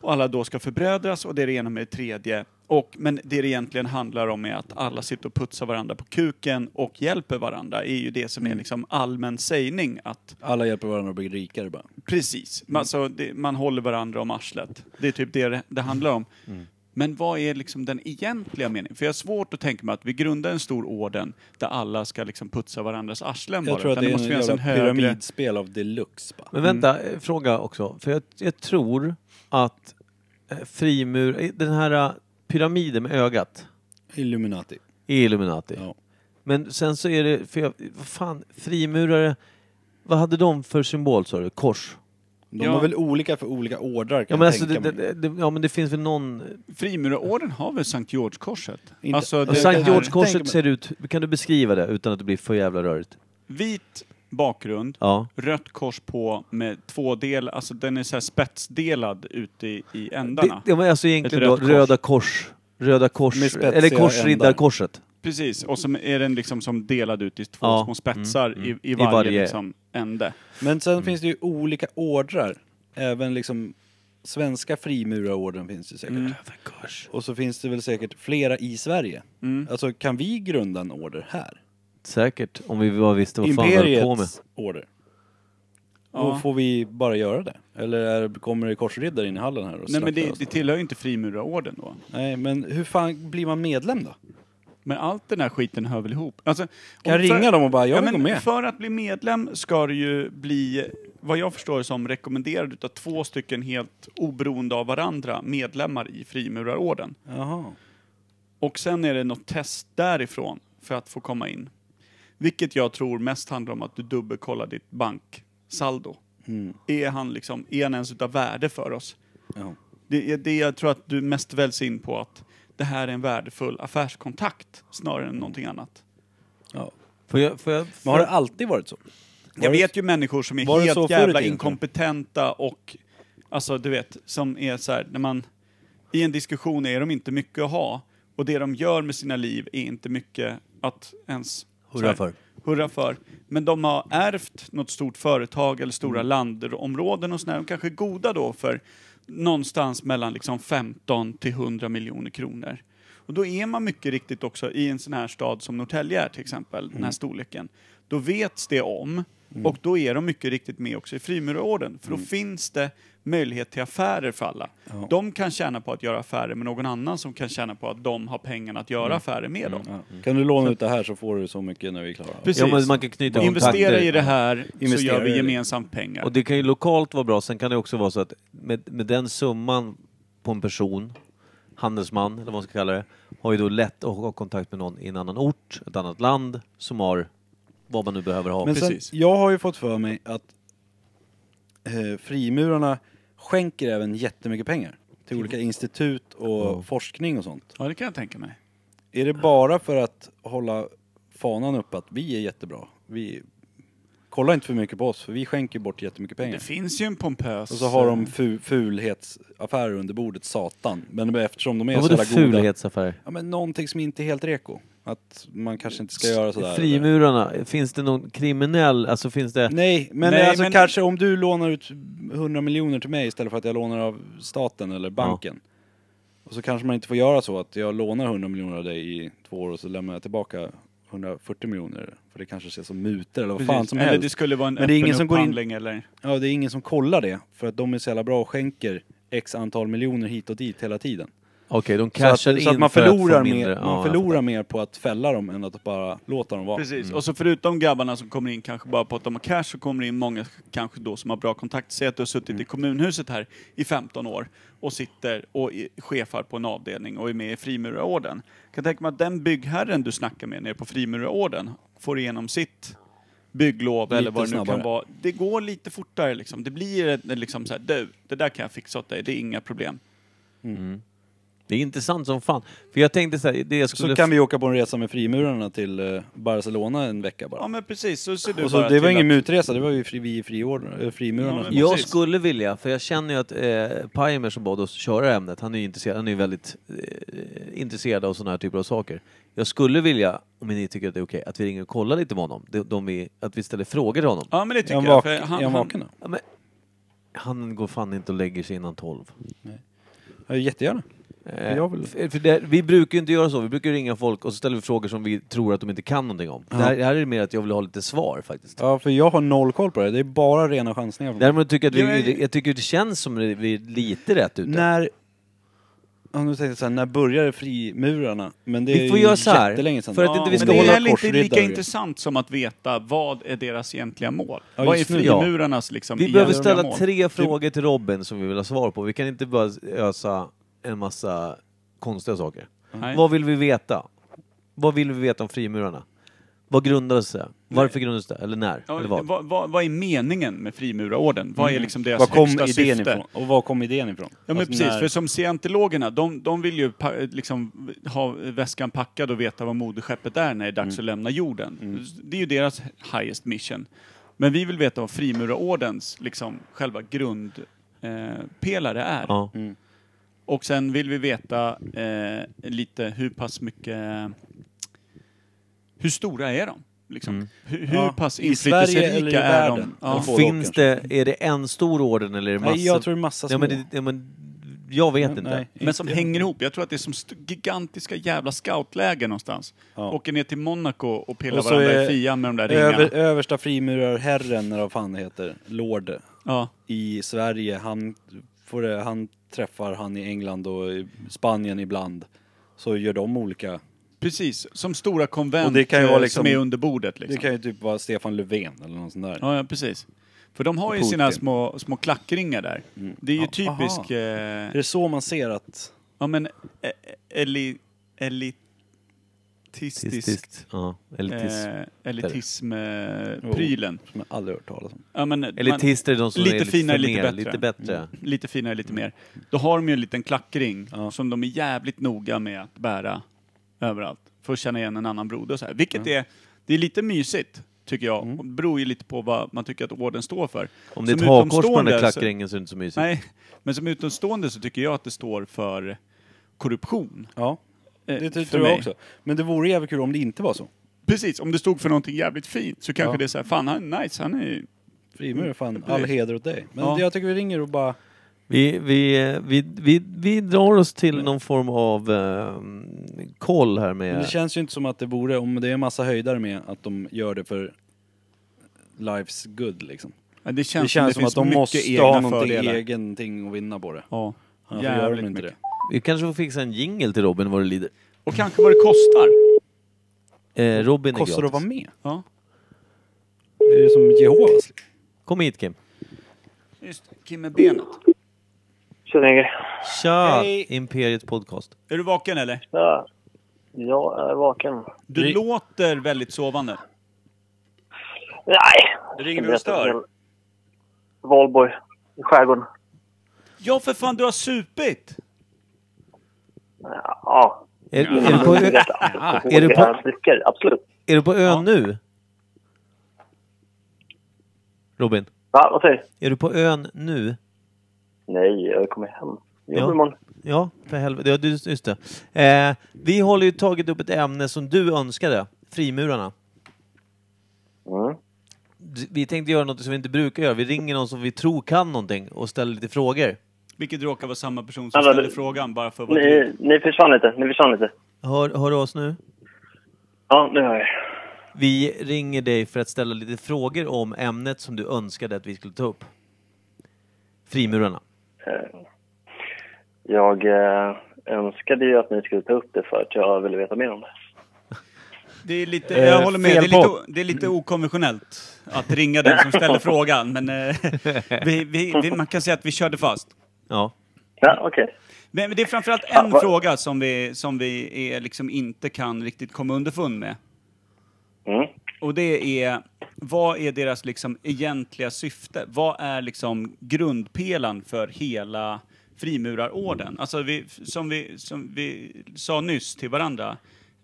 B: och alla då ska förbrödras och det är det ena med det tredje. Och, men det det egentligen handlar om är att alla sitter och putsar varandra på kuken och hjälper varandra. är ju det som
C: Mm.
B: är liksom allmän sägning att
C: Alla hjälper varandra att bli rikare bara.
B: precis,
C: Mm.
B: man, alltså, det, man håller varandra om arslet. Det är typ det det, det handlar om.
C: Mm.
B: Men vad är liksom den egentliga meningen? För jag har svårt att tänka mig att vi grundar en stor orden där alla ska liksom putsa varandras arslen
C: Jag
B: bara.
C: tror att
B: utan
C: det är en
B: finnas
C: jävla pyramidspel av deluxe bara.
E: men vänta,
C: Mm.
E: eh, fråga också. För jag, jag tror att eh, frimur... eh, Den här eh, pyramiden med ögat
C: Illuminati.
E: är Illuminati.
C: Ja.
E: Men sen så är det... För jag, vad fan, frimurare... Vad hade de för symbol sa du? Kors?
C: De
B: Ja.
C: har väl olika för olika ordrar kan
E: Ja men,
C: jag
E: alltså,
C: tänka
E: det,
C: mig.
E: det, det, ja men det finns väl någon...
B: Frimurarorden har väl Sankt George-korset? Alltså,
C: Inte-
B: det-
E: Och
B: det
E: Sankt
B: här-
C: tänker man-
E: George-korset ser ut... Kan du beskriva det utan att det blir för jävla rörigt?
B: Vit bakgrund,
E: Ja.
B: rött kors på med två del, alltså den är så här spetsdelad ute i, i
E: Det,
B: ändarna.
E: det var alltså egentligen då
B: rött kors.
E: Röda kors. Röda kors.
C: Med spetsiga
E: Eller
C: ändar.
E: korsriddarkorset.
B: Precis, och så är den liksom som delad ut i två
E: Ja,
B: små spetsar
E: mm,
B: i,
E: mm.
B: i
E: I
B: varje,
E: varje.
B: Liksom, ände.
C: Men sen finns det ju olika ordrar. Även liksom svenska frimurarorden finns ju säkert.
B: Mm.
C: Och så finns det väl säkert flera i Sverige.
B: Mm.
C: Alltså kan vi grunda en order här?
E: Säkert. Om vi bara visste vad fan vi höll på med.
C: Imperiets order. Och får vi bara göra det? Eller är, kommer det korsriddare in i hallen här och
B: Nej men
C: slaktar
B: det,
C: oss?
B: det tillhör ju inte frimurarorden då.
C: Nej men hur fan blir man medlem då?
B: Men allt den här skiten hör väl ihop? Alltså, om
C: jag ringa dem och bara, jag vill
B: men
C: gå med?
B: För att bli medlem ska du ju bli, vad jag förstår som rekommenderad utav två stycken helt oberoende av varandra medlemmar i frimurarorden.
C: Jaha.
B: Och sen är det något test därifrån för att få komma in. Vilket jag tror mest handlar om att du dubbelkollar ditt banksaldo. Är han liksom, är han ens utav värde för oss?
C: Ja.
B: Det är det jag tror att du mest väljs in på att det här är en värdefull affärskontakt snarare än någonting annat.
C: Ja.
E: Får jag, får jag,
C: Men har det alltid varit så?
B: Jag vet ju människor som
C: var
B: är
C: det så
B: helt
C: förut
B: jävla
C: egentligen?
B: inkompetenta och, alltså du vet, som är så här, när man, i en diskussion är de inte mycket att ha och det de gör med sina liv är inte mycket att ens så här,
E: Hurra för.
B: Hurra för. Men de har ärvt något stort företag eller stora landområden och sådär. De kanske är goda då för någonstans mellan liksom 15 till 100 miljoner kronor. Och då är man mycket riktigt också i en sån här stad som Norrtälje är till exempel, den här storleken. Då vets det om och då är de mycket riktigt med också i frimurarorden. För då finns det möjlighet till affärer för alla. De kan tjäna på att göra affärer med någon annan som kan tjäna på att de har pengarna att göra affärer med dem.
C: Ja. Mm. Kan du låna ut det här så får du så mycket när vi är klara.
B: Precis.
E: Ja, men man kan knyta
B: Investera
E: kontakter.
B: i det här så
C: Investera
B: gör
C: i
B: vi
C: det.
B: gemensamt pengar.
E: Och det kan ju lokalt vara bra, sen kan det också vara så att med, med den summan på en person, handelsman eller vad man ska kalla det, har ju då lätt att ha kontakt med någon i en annan ort, ett annat land, som har vad man nu behöver ha.
C: Men sen,
B: precis.
C: jag har ju fått för mig att eh, frimurarna skänker även jättemycket pengar till
B: Mm.
C: olika institut och forskning och sånt.
B: Ja, det kan jag tänka mig.
C: Är det bara för att hålla fanan upp att vi är jättebra? Vi Kolla inte för mycket på oss för vi skänker bort jättemycket pengar.
B: Det finns eh, ju en pompös...
C: Och så har de fu- fulhetsaffärer under bordet, satan. Men eftersom de är
E: Vad
C: så
E: var det
C: jävla goda...
E: fulhetsaffär?
C: Ja men någonting som inte är helt reko. Att man kanske inte ska göra sådär. eller-
E: Frimurarna, finns det någon kriminell, alltså finns det...
C: Nej, men
B: Nej,
C: alltså
B: men-
C: kanske om du lånar ut 100 miljoner till mig istället för att jag lånar av staten eller banken. Och så kanske man inte får göra så att jag lånar 100 miljoner av dig i två år och så lämnar jag tillbaka 140 miljoner. För det kanske ses som mutor eller vad fan som
B: eller
C: helst.
B: det skulle vara en
C: Men det är ingen
B: öppen
C: som går in-
B: upphandling eller...
C: Ja, det är ingen som kollar det. För att de är så jävla bra och skänker x antal miljoner hit och dit hela tiden.
E: Okej, de
C: Så att,
E: cashar in
C: så att man
E: för
C: förlorar,
E: få
C: mer,
E: Ja,
C: man
E: jag
C: förlorar mer på att fälla dem än att bara låta dem vara.
B: Precis, och så förutom grabbarna som kommer in kanske bara på att de har cash så kommer det in många kanske då som har bra kontakt. Säg att du har suttit
C: Mm.
B: i kommunhuset här i 15 år och sitter och i- chefar på en avdelning och är med i Frimurarorden. Jag kan tänka mig att den byggherren du snackar med nere på Frimurarorden får igenom sitt bygglov eller vad det nu
C: snabbare.
B: kan vara. Det går lite fortare liksom. Det blir ett- liksom så här, du, det där kan jag fixa åt dig, det är inga problem.
E: Det är intressant som fan. För jag tänkte så här, det jag skulle...
C: Så kan vi åka på en resa med frimurarna till eh, Barcelona en vecka
B: Ja
C: bara.
B: men precis, så ser du
C: Och så,
B: bara
C: det var
B: till
C: ingen
B: att-
C: mutresa, det var ju fri, vi i friordn- eh, frimurarna.
B: Ja,
C: som-
B: men-
E: Jag
B: Precis.
E: skulle vilja, för jag känner ju att eh, Pajmer som bad oss köra det här ämnet, han är ju intresserad, han är ju väldigt eh, intresserad av sådana här typer av saker. Jag skulle vilja, om ni tycker att det är okej, att vi ringer och kollar lite med honom. De, de vi, att vi ställer frågor till honom.
B: Ja men det
C: Är
B: tycker
C: han
B: jag.
C: vak-
B: för han-
C: är han
B: han-
C: vaken då?
E: Ja, men, han går fan inte och lägger sig innan tolv.
C: Ja, jättegärna.
E: Eh,
C: Jag vill-
E: för för det, vi brukar ju inte göra så, vi brukar ringa folk och så ställer vi frågor som vi tror att de inte kan någonting om. Det, här, det här är mer att jag vill ha lite svar faktiskt.
C: Ja, för jag har noll koll på det. Det är bara rena chansningar. från-
E: Däremot tycker jag, att vi,
B: Ja, men-
E: jag tycker det känns som att vi är lite rätt ute.
C: När... Om du tänker såhär, när började frimurarna? Men det
E: Vi
C: är
E: får
C: ju
E: göra så här,
C: jättelänge sedan.
E: för att inte vi
B: men
E: ska
B: det
E: hålla
B: är heller inte lika
C: korsriddare.
B: intressant som att veta vad är deras egentliga mål.
C: Ja,
B: vad är
C: just nu,
E: ja.
B: frimurarnas liksom
E: Vi behöver
B: egentliga
E: ställa
B: mål?
E: tre frågor till Robin som vi vill ha svar på. Vi kan inte bara ösa en massa konstiga saker.
B: Nej.
E: Vad vill vi veta? Vad vill vi veta om frimurarna? Vad grundades det? Varför grundades det? Eller när?
B: Ja,
E: Eller
B: vad?
E: vad?
B: Vad, vad, är meningen med frimurarorden? Vad är liksom deras
C: Var kom
B: högsta
C: idén
B: syfte?
C: ifrån? Och var kom idén ifrån?
B: Ja men
C: Alltså,
B: precis,
C: när-
B: för som scientologerna, de, de vill ju pa- liksom ha väskan packad och veta vad moderskeppet är när det är dags att lämna jorden. Det är ju deras highest mission. Men vi vill veta vad frimurarordens liksom själva grundpelare eh, pelare är.
E: Ja.
B: Och sen vill vi veta eh, lite hur pass mycket... Hur stora är de? Liksom. Hur, hur
C: Ja,
B: pass
C: i Sverige eller i
B: inflytelserika är de?
C: världen?
B: Ja.
C: Få
E: Finns
C: då,
E: det, är det en stor orden eller är det massor?
C: Nej, jag tror det är massa små.
E: ja, men, det, ja, men, Jag vet inte.
C: Nej.
B: Men som hänger ihop. Jag tror att det är som st- gigantiska jävla scoutläger någonstans.
C: Ja.
B: Åker ner till Monaco och pillar
C: Och så
B: varandra
C: är
B: i fian med de där ringarna.
C: Över, översta frimurarherren, eller vad fan det heter, Lord
B: Ja.
C: i Sverige, han, får det, han träffar han i England och i Spanien ibland. Så gör de olika.
B: Precis, som stora konvent
C: Och det kan ju vara
B: eh,
C: liksom-
B: som är under bordet. Liksom.
C: Det kan ju typ vara Stefan Löfven eller någon sån där.
B: Ja, ja, precis. För de har ju
C: Putin. Mm.
B: sina små, små klackringar där. Det är ju typisk...
C: aha.
B: Eh,
C: Är det så man ser att...
B: Ja men eh, eli, elitistisk
E: Elitiskt. Ja, elitism.
B: eh, elitism-prylen.
E: Oh.
C: Som jag aldrig hört talas om.
B: Ja, men, man-
E: Elitister är de som
B: lite
E: är lite
B: finare,
E: förmer,
B: lite bättre. Mm.
E: Lite bättre.
B: lite finare, lite mer. Då har de ju en liten klackring
C: Ja.
B: som de är jävligt noga med att bära överallt. För att känna igen en annan broder och så här. Vilket är, det är lite mysigt. Tycker jag. Och Det beror ju lite på vad man tycker att orden står för.
E: Mm. Om det är ett
B: Som
E: hakkors på den
B: utomstående
E: där
B: så-
E: klackringen så är det inte så mysigt.
B: Nej, men som utomstående så tycker jag att det står för korruption.
C: Ja,
B: eh,
C: det
B: för
C: tror jag
B: mig.
C: också. Men det vore jävligt kul om det inte var så.
B: Precis, om det stod för någonting jävligt fint så kanske
C: Ja.
B: det är så här, fan han är nice, han är
C: Frimurare, fan, all heder åt dig. Men
B: Ja.
C: jag tycker vi ringer och bara...
E: Vi, vi, eh, vi, vi, vi drar oss till någon form av eh, koll här
C: Mm. Men det
E: med...
C: känns ju inte som att det vore, om det är en massa höjdare med, att de gör det för life's good liksom.
B: Ja, det
C: Det
B: känns,
C: känns, som att
B: det
C: de
B: finns
C: måste
B: mycket
C: ha
B: egna
C: någonting
B: fördelar.
C: egen ting att vinna på det.
B: Ja,
C: Annars gör
B: jävligt
C: de inte
B: mycket.
C: det.
E: Vi kanske får fixa en jingle till Robin vad det lider.
B: Och kanske vad det kostar.
E: Eh, Robin är
C: Kostar det att vara
E: gratis.
C: med?
B: Ja,
C: Det är ju som Jehovas. liksom.
E: Kom hit Kim.
B: just det. Kim med benet.
E: Tja! Imperiet podcast.
B: Är du vaken eller?
I: Ja, jag är vaken.
B: Du låter väldigt sovande.
I: Nej!
B: Ringer vi och stör?
I: Valborg, i skärgården.
B: Ja för fan, du har supit!
I: Ja.
E: Är, är, du, på, ö-
I: Är
E: du på-
I: du på... Dricker, absolut.
E: är du på ön nu? Robin,
I: Ja, vad säger du?
E: är du på ön nu?
I: Nej, jag kommer hem. Jag
E: Ja.
I: ja. imorgon.
E: Ja, för helvete. Ja, du- just det. Eh, vi håller ju tagit upp ett ämne som du önskade, frimurarna.
I: Mm.
E: D- Vi tänkte göra något som vi inte brukar göra. Vi ringer någon som vi tror kan någonting och ställer lite frågor.
B: Vilket råkar vara samma person som
I: Alla,
B: ställer
I: det-
B: frågan bara för vad du...
I: Ni, ni försvann lite, ni försvann lite.
E: Hör, hör du oss nu?
I: Ja, nu hör jag er.
E: Vi ringer dig för att ställa lite frågor om ämnet som du önskade att vi skulle ta upp. Frimurarna.
I: Jag eh, önskade ju att ni skulle ta upp det för att jag ville veta mer om det.
B: Det är lite,
E: Eh,
B: jag håller med, det är
E: fel
B: lite,
E: podd.
B: o- det är lite okonventionellt att ringa den som ställer frågan. Men eh, vi, vi, vi, man kan säga att vi körde fast.
E: Ja.
I: Ja, okej.
B: Men men det är framförallt
I: Ja,
B: en
I: vad-
B: fråga som vi, som vi är liksom inte kan riktigt komma underfund med.
I: Mm.
B: Och det är, vad är deras liksom egentliga syfte? Vad är liksom grundpelaren för hela frimurarorden? Alltså vi, som, vi, som vi sa nyss till varandra,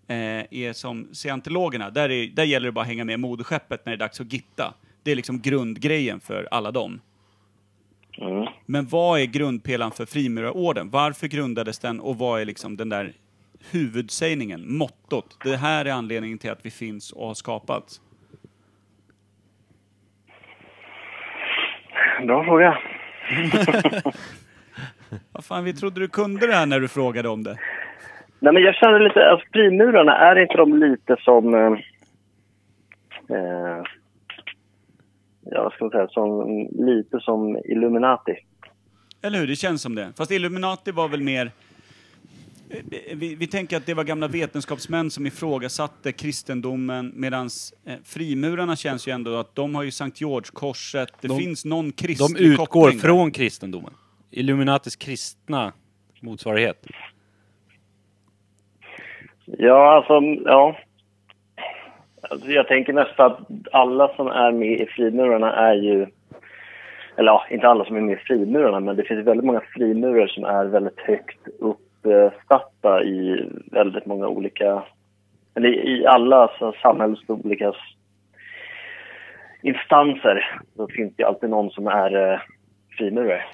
B: eh, är som seantologerna, där, är, där gäller det bara att hänga med moderskeppet när det är dags att gitta. Det är liksom grundgrejen för alla dem.
I: Mm.
B: Men vad är grundpelaren för frimurarorden? Varför grundades den och vad är liksom den där huvudsägningen, mottot? Det här är anledningen till att vi finns och har skapats.
I: Bra fråga.
B: Vad fan, vi trodde du kunde det här när du frågade om det.
I: Nej, men jag känner lite, alltså frimurarna, är inte de lite som... Eh, eh, ja, vad ska man säga? Som, lite som Illuminati.
B: Eller hur? Det känns som det. Fast Illuminati var väl mer... Vi, vi tänker att det var gamla vetenskapsmän som ifrågasatte kristendomen medan eh, frimurarna känns ju ändå att de har ju Sankt George-korset. Det
C: De-
B: finns någon kristen
C: De utgår
B: koppling där.
C: från kristendomen. Illuminatis kristna motsvarighet.
I: Ja, alltså, ja. Alltså, jag tänker nästan att alla som är med i frimurarna är ju... Eller ja, inte alla som är med i frimurarna, men det finns väldigt många frimurar som är väldigt högt uppsatta i väldigt många olika... Eller i alla så- samhällets olika s- instanser så finns det ju alltid någon som är eh, frimurare.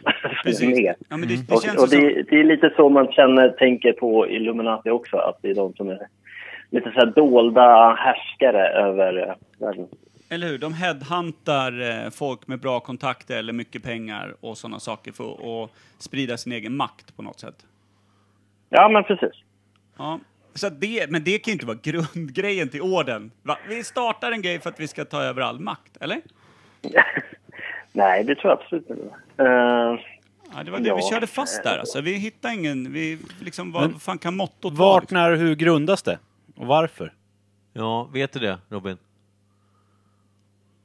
B: Precis.
I: Som är med.
B: Ja, men det, det
I: Och,
B: känns
I: och
B: ju som...
I: det, det är lite så man känner, tänker på Illuminati också, att det är de som är lite så här dolda härskare över eh, världen.
B: Eller hur? De headhuntar eh, folk med bra kontakter eller mycket pengar och sådana saker för att sprida sin egen makt på något sätt.
I: Ja, men precis.
B: Ja. Så att det, men det kan ju inte vara grundgrejen till orden. Va? Vi startar en grej för att vi ska ta över all makt, eller?
I: Nej, det tror jag absolut inte. Eh,
B: Ja, det var det. Vi
I: Ja.
B: körde fast där alltså. Vi hittade ingen... Vi, liksom, vad
C: Men-
B: vad fan kan mottot vara?
C: Vart,
B: liksom?
C: när och hur grundas det? Och varför?
E: Ja, vet du det Robin?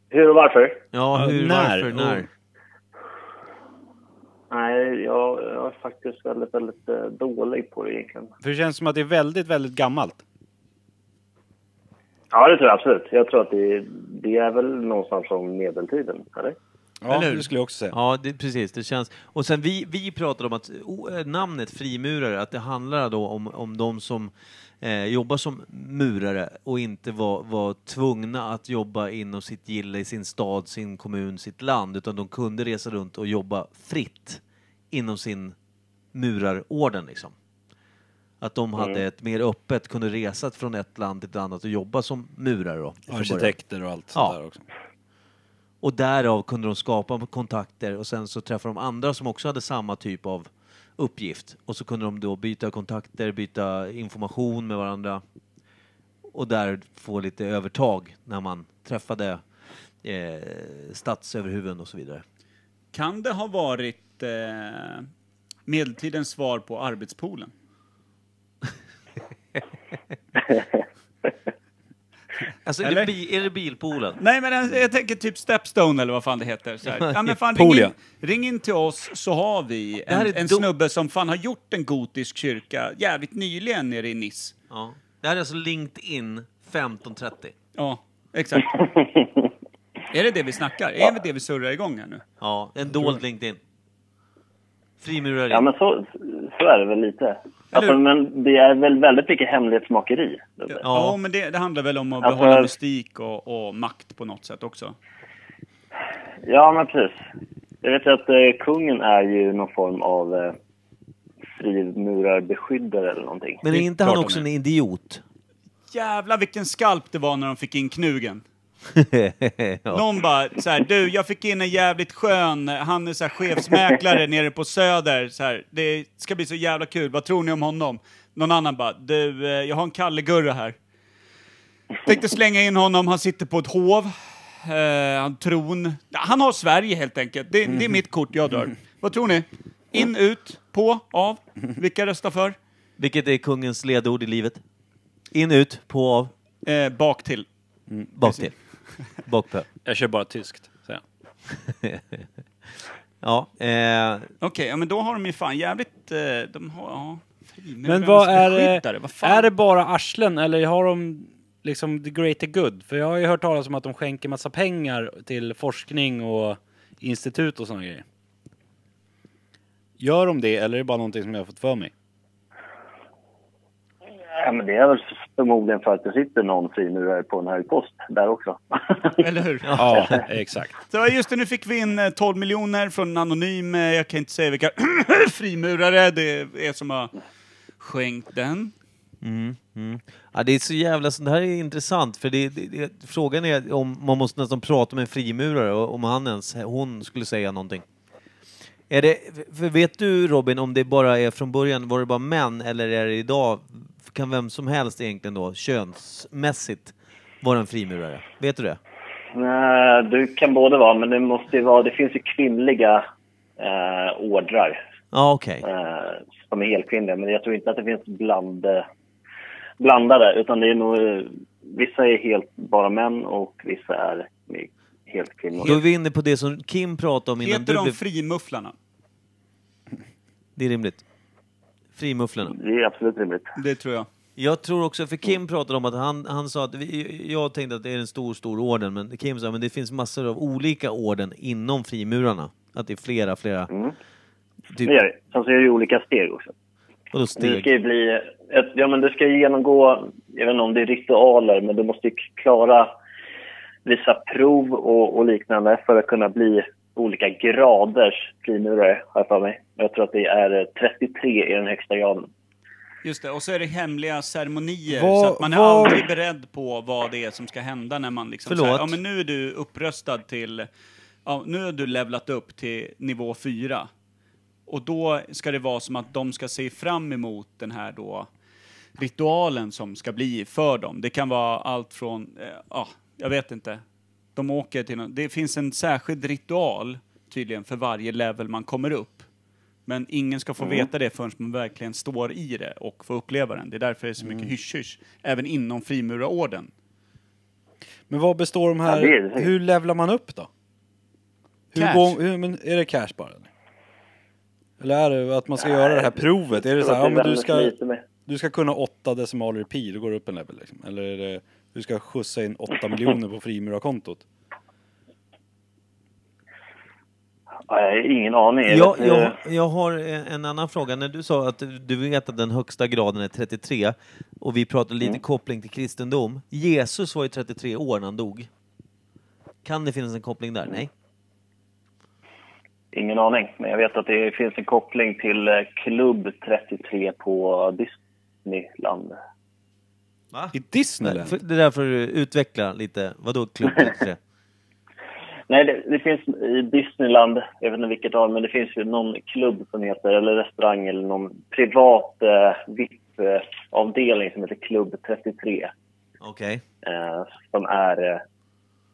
I: hur och varför?
E: Ja,
C: Ja,
E: hur,
C: när?
E: varför, när?
I: Nej, jag, jag är faktiskt väldigt, väldigt eh, dålig på det egentligen.
C: För det känns som att det är väldigt, väldigt gammalt.
I: Ja, det tror jag absolut. Jag tror att det, det är väl någonstans från medeltiden, eller?
C: Ja,
B: Eller hur?
C: det skulle jag också säga.
E: Ja, det, precis. Det känns... Och sen vi, vi pratade om att o- eh, namnet frimurare, att det handlar då om, om de som eh, jobbar som murare och inte var, var tvungna att jobba inom sitt gille, i sin stad, sin kommun, sitt land, utan de kunde resa runt och jobba fritt inom sin murarorden liksom. Att de hade ett mer öppet, kunde resa från ett land till ett annat och jobba som murare. Då, från början.
C: Arkitekter och allt
E: Ja.
C: sånt där också.
E: Och därav kunde de skapa kontakter och sen så träffade de andra som också hade samma typ av uppgift. Och så kunde de då byta kontakter, byta information med varandra och där få lite övertag när man träffade eh, statsöverhuvuden och så vidare.
B: Kan det ha varit eh, medeltidens svar på arbetspoolen?
E: Alltså är
B: Eller?
E: det, bi- är det bilpoolen?
B: Nej, men jag, jag tänker typ Stepstone eller vad fan det heter. Så här. Ja, men fan, ring,
C: Pool,
B: in,
C: ja.
B: ring in till oss så har vi
E: Det här
B: en,
E: är
B: en
E: do-
B: snubbe som fan har gjort en gotisk kyrka jävligt nyligen nere i Nice.
E: Ja. Det här är alltså LinkedIn 1530.
B: Ja, exakt. är det det vi snackar? Är det det vi surrar igång här nu?
E: Ja, en dold LinkedIn. Frimurare.
I: Ja, men så, så är det väl lite. Alltså,
B: hur?
I: men det är väl väldigt mycket hemlighetsmakeri. det där.
B: Ja, men det, det handlar väl om att
I: Alltså-
B: behålla mystik och, och makt på något sätt också.
I: Ja, men precis. Jag vet ju att eh, kungen är ju någon form av eh, frimurarbeskyddare eller någonting.
E: Men är inte
C: klart
E: han
C: han
E: också
C: är.
E: en idiot?
B: Jävlar vilken skalp det var när de fick in knugen. Någon bara så här, du jag fick in en jävligt skön, han är så här chefsmäklare nere på Söder, så här, det ska bli så jävla kul, vad tror ni om honom? Någon annan bara, du eh, jag har en Kalle-Gurra här. Tänkte slänga in honom, han sitter på ett hov, eh, han tron, Ja, han har Sverige helt enkelt, det, det är mitt kort jag drar. Vad tror ni? In, ut, på, av, vilka röstar för?
E: Vilket är kungens ledord i livet? In, ut, på, av,
B: Eh, bak till.
E: bak till. Bakpö.
C: Jag kör bara tyskt. säger jag.
E: Ja, eh,
B: Okej, ja, men då har de ju fan jävligt... Eh, de har... Ja,
C: Men vad är
B: det?
C: det?
B: Vad fan?
C: Är det bara arslen eller har de liksom the greater good? För jag har ju hört talas om att de skänker massa pengar till forskning och institut och sådana grejer. Gör de det eller är det bara någonting som jag har fått för mig?
I: Ja, men det är väl förmodligen för att det sitter någon frimurare på en hög post där också.
B: Eller hur?
C: Ja, exakt.
B: Så just det, nu fick vi in eh, 12 miljoner från en anonym, eh, jag kan inte säga vilka frimurare det är som har skänkt den.
E: mm. Ja, det är så jävla, så det här är intressant för det, det, det, frågan är om man måste nästan prata med en frimurare och om han ens, hon skulle säga någonting. Är det, för vet du Robin om det bara är från början, var det bara män eller är det idag, kan vem som helst egentligen då könsmässigt vara en frimurare? Vet du det?
I: Nej, du kan både vara, men det måste ju vara... Det finns ju kvinnliga eh, ordrar
E: Ja okej.
I: eh, som är helkvinnliga. Men jag tror inte att det finns bland, eh, blandade. Utan det är nog, eh, vissa är helt bara män och vissa är helt kvinnor.
E: Då är vi inne på det som Kim pratade om innan
B: Heter
E: du
B: de
E: blev...
B: frimufflarna?
E: Det är rimligt. Frimufflarna.
I: Det är absolut rimligt.
B: Det tror jag.
E: Jag tror också, för Kim pratade om att han, han sa att, vi, jag tänkte att det är en stor, stor orden, men Kim sa att det finns massor av olika orden inom frimurarna. Att det är flera, flera. Typ,
I: Det gör det. Sen så är det ju olika steg också.
E: vadå
I: Du ska
E: steg?
I: ju bli... Ett, ja, men du ska ju genomgå, jag vet inte om det är ritualer, men du måste ju klara vissa prov och, och liknande för att kunna bli olika graders frimurare, har jag för mig. Jag tror att det är eh, 33 i den högsta graden.
B: Just det, och så är det hemliga ceremonier
C: Vad-
B: så att man är
C: vad-
B: aldrig beredd på vad det är som ska hända när man liksom
E: Förlåt.
B: så här, ja men nu är du uppröstad till, ja nu har du levlat upp till nivå 4. Och då ska det vara som att de ska se fram emot den här då ritualen som ska bli för dem. Det kan vara allt från, eh, ja, jag vet inte. De åker till någon, det finns en särskild ritual tydligen för varje level man kommer upp. Men ingen ska få
I: Mm.
B: veta det förrän man verkligen står i det och får uppleva den. Det är därför det är så mycket
I: Mm.
B: hysch-hysch, även inom frimurarorden.
C: Men vad består de här...
I: Ja, det är det.
C: Hur levlar man upp då? Hur
B: Cash.
C: går, hur, men är det cash bara? Eller? eller är det att man ska göra det här provet? Är det så här, ja, men du ska...
I: Lite mer.
C: Du ska kunna åtta decimaler i pi, då går du upp en level liksom. Eller är det, du ska skjutsa in åtta miljoner på frimurarkontot.
I: Ja, jag har ingen aning. Jag
E: Jag,
I: vet inte.
E: jag, jag har en en annan fråga. När du sa att du vet att den högsta graden är 33 och vi pratade lite koppling till kristendom. Jesus var ju 33 år när han dog. Kan det finnas en koppling där? Nej?
I: Ingen aning, men jag vet att det finns en koppling till eh, Klubb 33 på Disneyland.
E: Va?
C: I Disneyland?
E: För- Det är därför du utvecklar lite. Vadå klubb 33?
I: Nej, det, det finns i Disneyland, jag vet inte vilket av men det finns ju någon klubb som heter, eller restaurang eller någon privat eh, VIP-avdelning som heter Klubb 33.
E: Okej.
I: Eh, som är eh,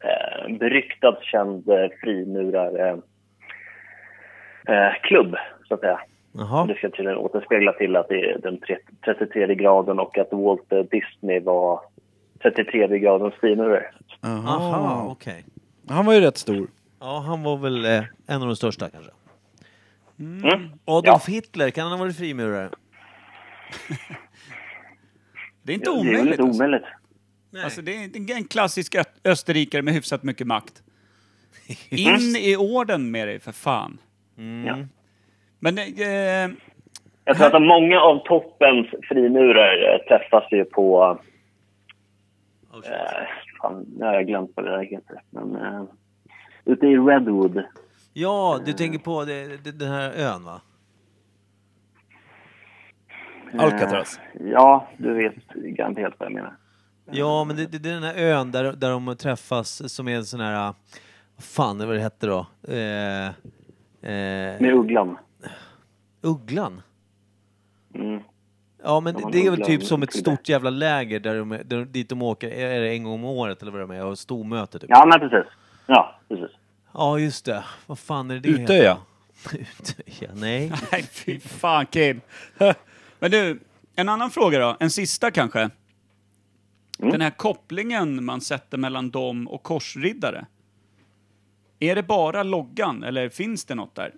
I: eh, en beryktad känd eh, frimurare eh, klubb, så att säga.
E: Jaha.
I: Det ska tydligen återspegla till att det är den tre- 33 graden och att Walt eh, Disney var 33 gradens frimurare.
E: Aha, okej.
C: Han var ju rätt stor.
E: Ja, han var väl eh, en av de största kanske. Mm. Adolf Hitler, kan han ha varit frimurare?
B: Det är inte
I: Ja, Det är väl
B: omöjligt.
I: inte
B: Alltså.
I: omöjligt.
B: Alltså, det är det är en klassisk ö- österrikare med hyfsat mycket makt. In i orden med dig, för fan. Mm.
I: Ja.
B: Men eh,
I: Jag tror att många av toppens frimurar eh, träffas ju på... Eh, fan, nu har jag glömt vad det där heter. Men, eh, ute i Redwood.
E: Ja, du tänker på det, det, den här ön va?
C: Alcatraz.
I: Eh, Ja, du vet garanterat vad jag menar.
E: Ja, men det, det, det är den här ön där, där de träffas som är en sån här... eh, Vad fan är vad det hette då? Eh, eh,
I: Med ugglan.
E: ugglan?
I: Mm.
E: Ja, men
I: Ja,
E: det är väl
I: Ugglan,
E: typ som ett
I: Ugglan.
E: stort jävla läger där de, är- där, dit de åker är det en gång om året eller vad det är, och stormöte typ.
I: Ja, men precis. Ja, precis.
E: Ja, just det. Vad fan är det det heter?
C: Utöja.
E: Utöja? Nej.
B: nej, fy fan Kim. Men du, En annan fråga då, en sista kanske. Den här kopplingen man sätter mellan dem och korsriddare. Är det bara loggan eller finns det något där?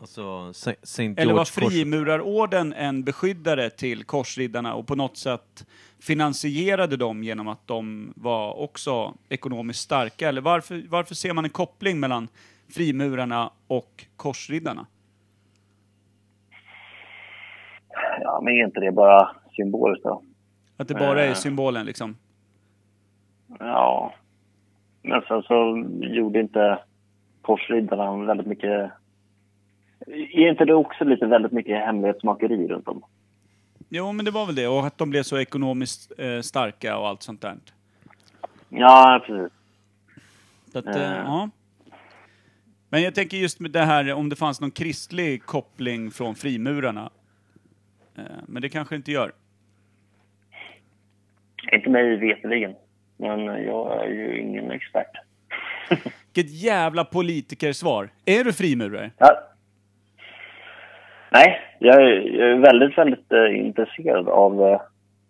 E: Alltså, Saint George
B: Eller var
E: Corset.
B: frimurarorden en beskyddare till korsriddarna och på något sätt finansierade dem genom att de var också ekonomiskt starka? Eller varför, varför ser man en koppling mellan frimurarna och korsriddarna?
I: Ja, men är inte det bara symboliskt då?
B: Att det bara är symbolen liksom?
I: Ja. Men sen så gjorde inte korsriddarna väldigt mycket... Är inte det också lite väldigt mycket hemlighetsmakeri runt om?
B: Jo, men det var väl det. Och att de blev så ekonomiskt eh, starka och allt sånt där.
I: Ja, precis.
B: Så att, eh,
I: Eh.
B: ja. Men jag tänker just med det här om det fanns någon kristlig koppling från frimurarna. Eh, men det kanske inte gör.
I: Inte mig veterligen. Men jag är ju ingen expert.
B: Vilket jävla politikersvar. Är du frimurare?
I: Ja. Nej, jag är, jag är väldigt, väldigt eh, intresserad av eh,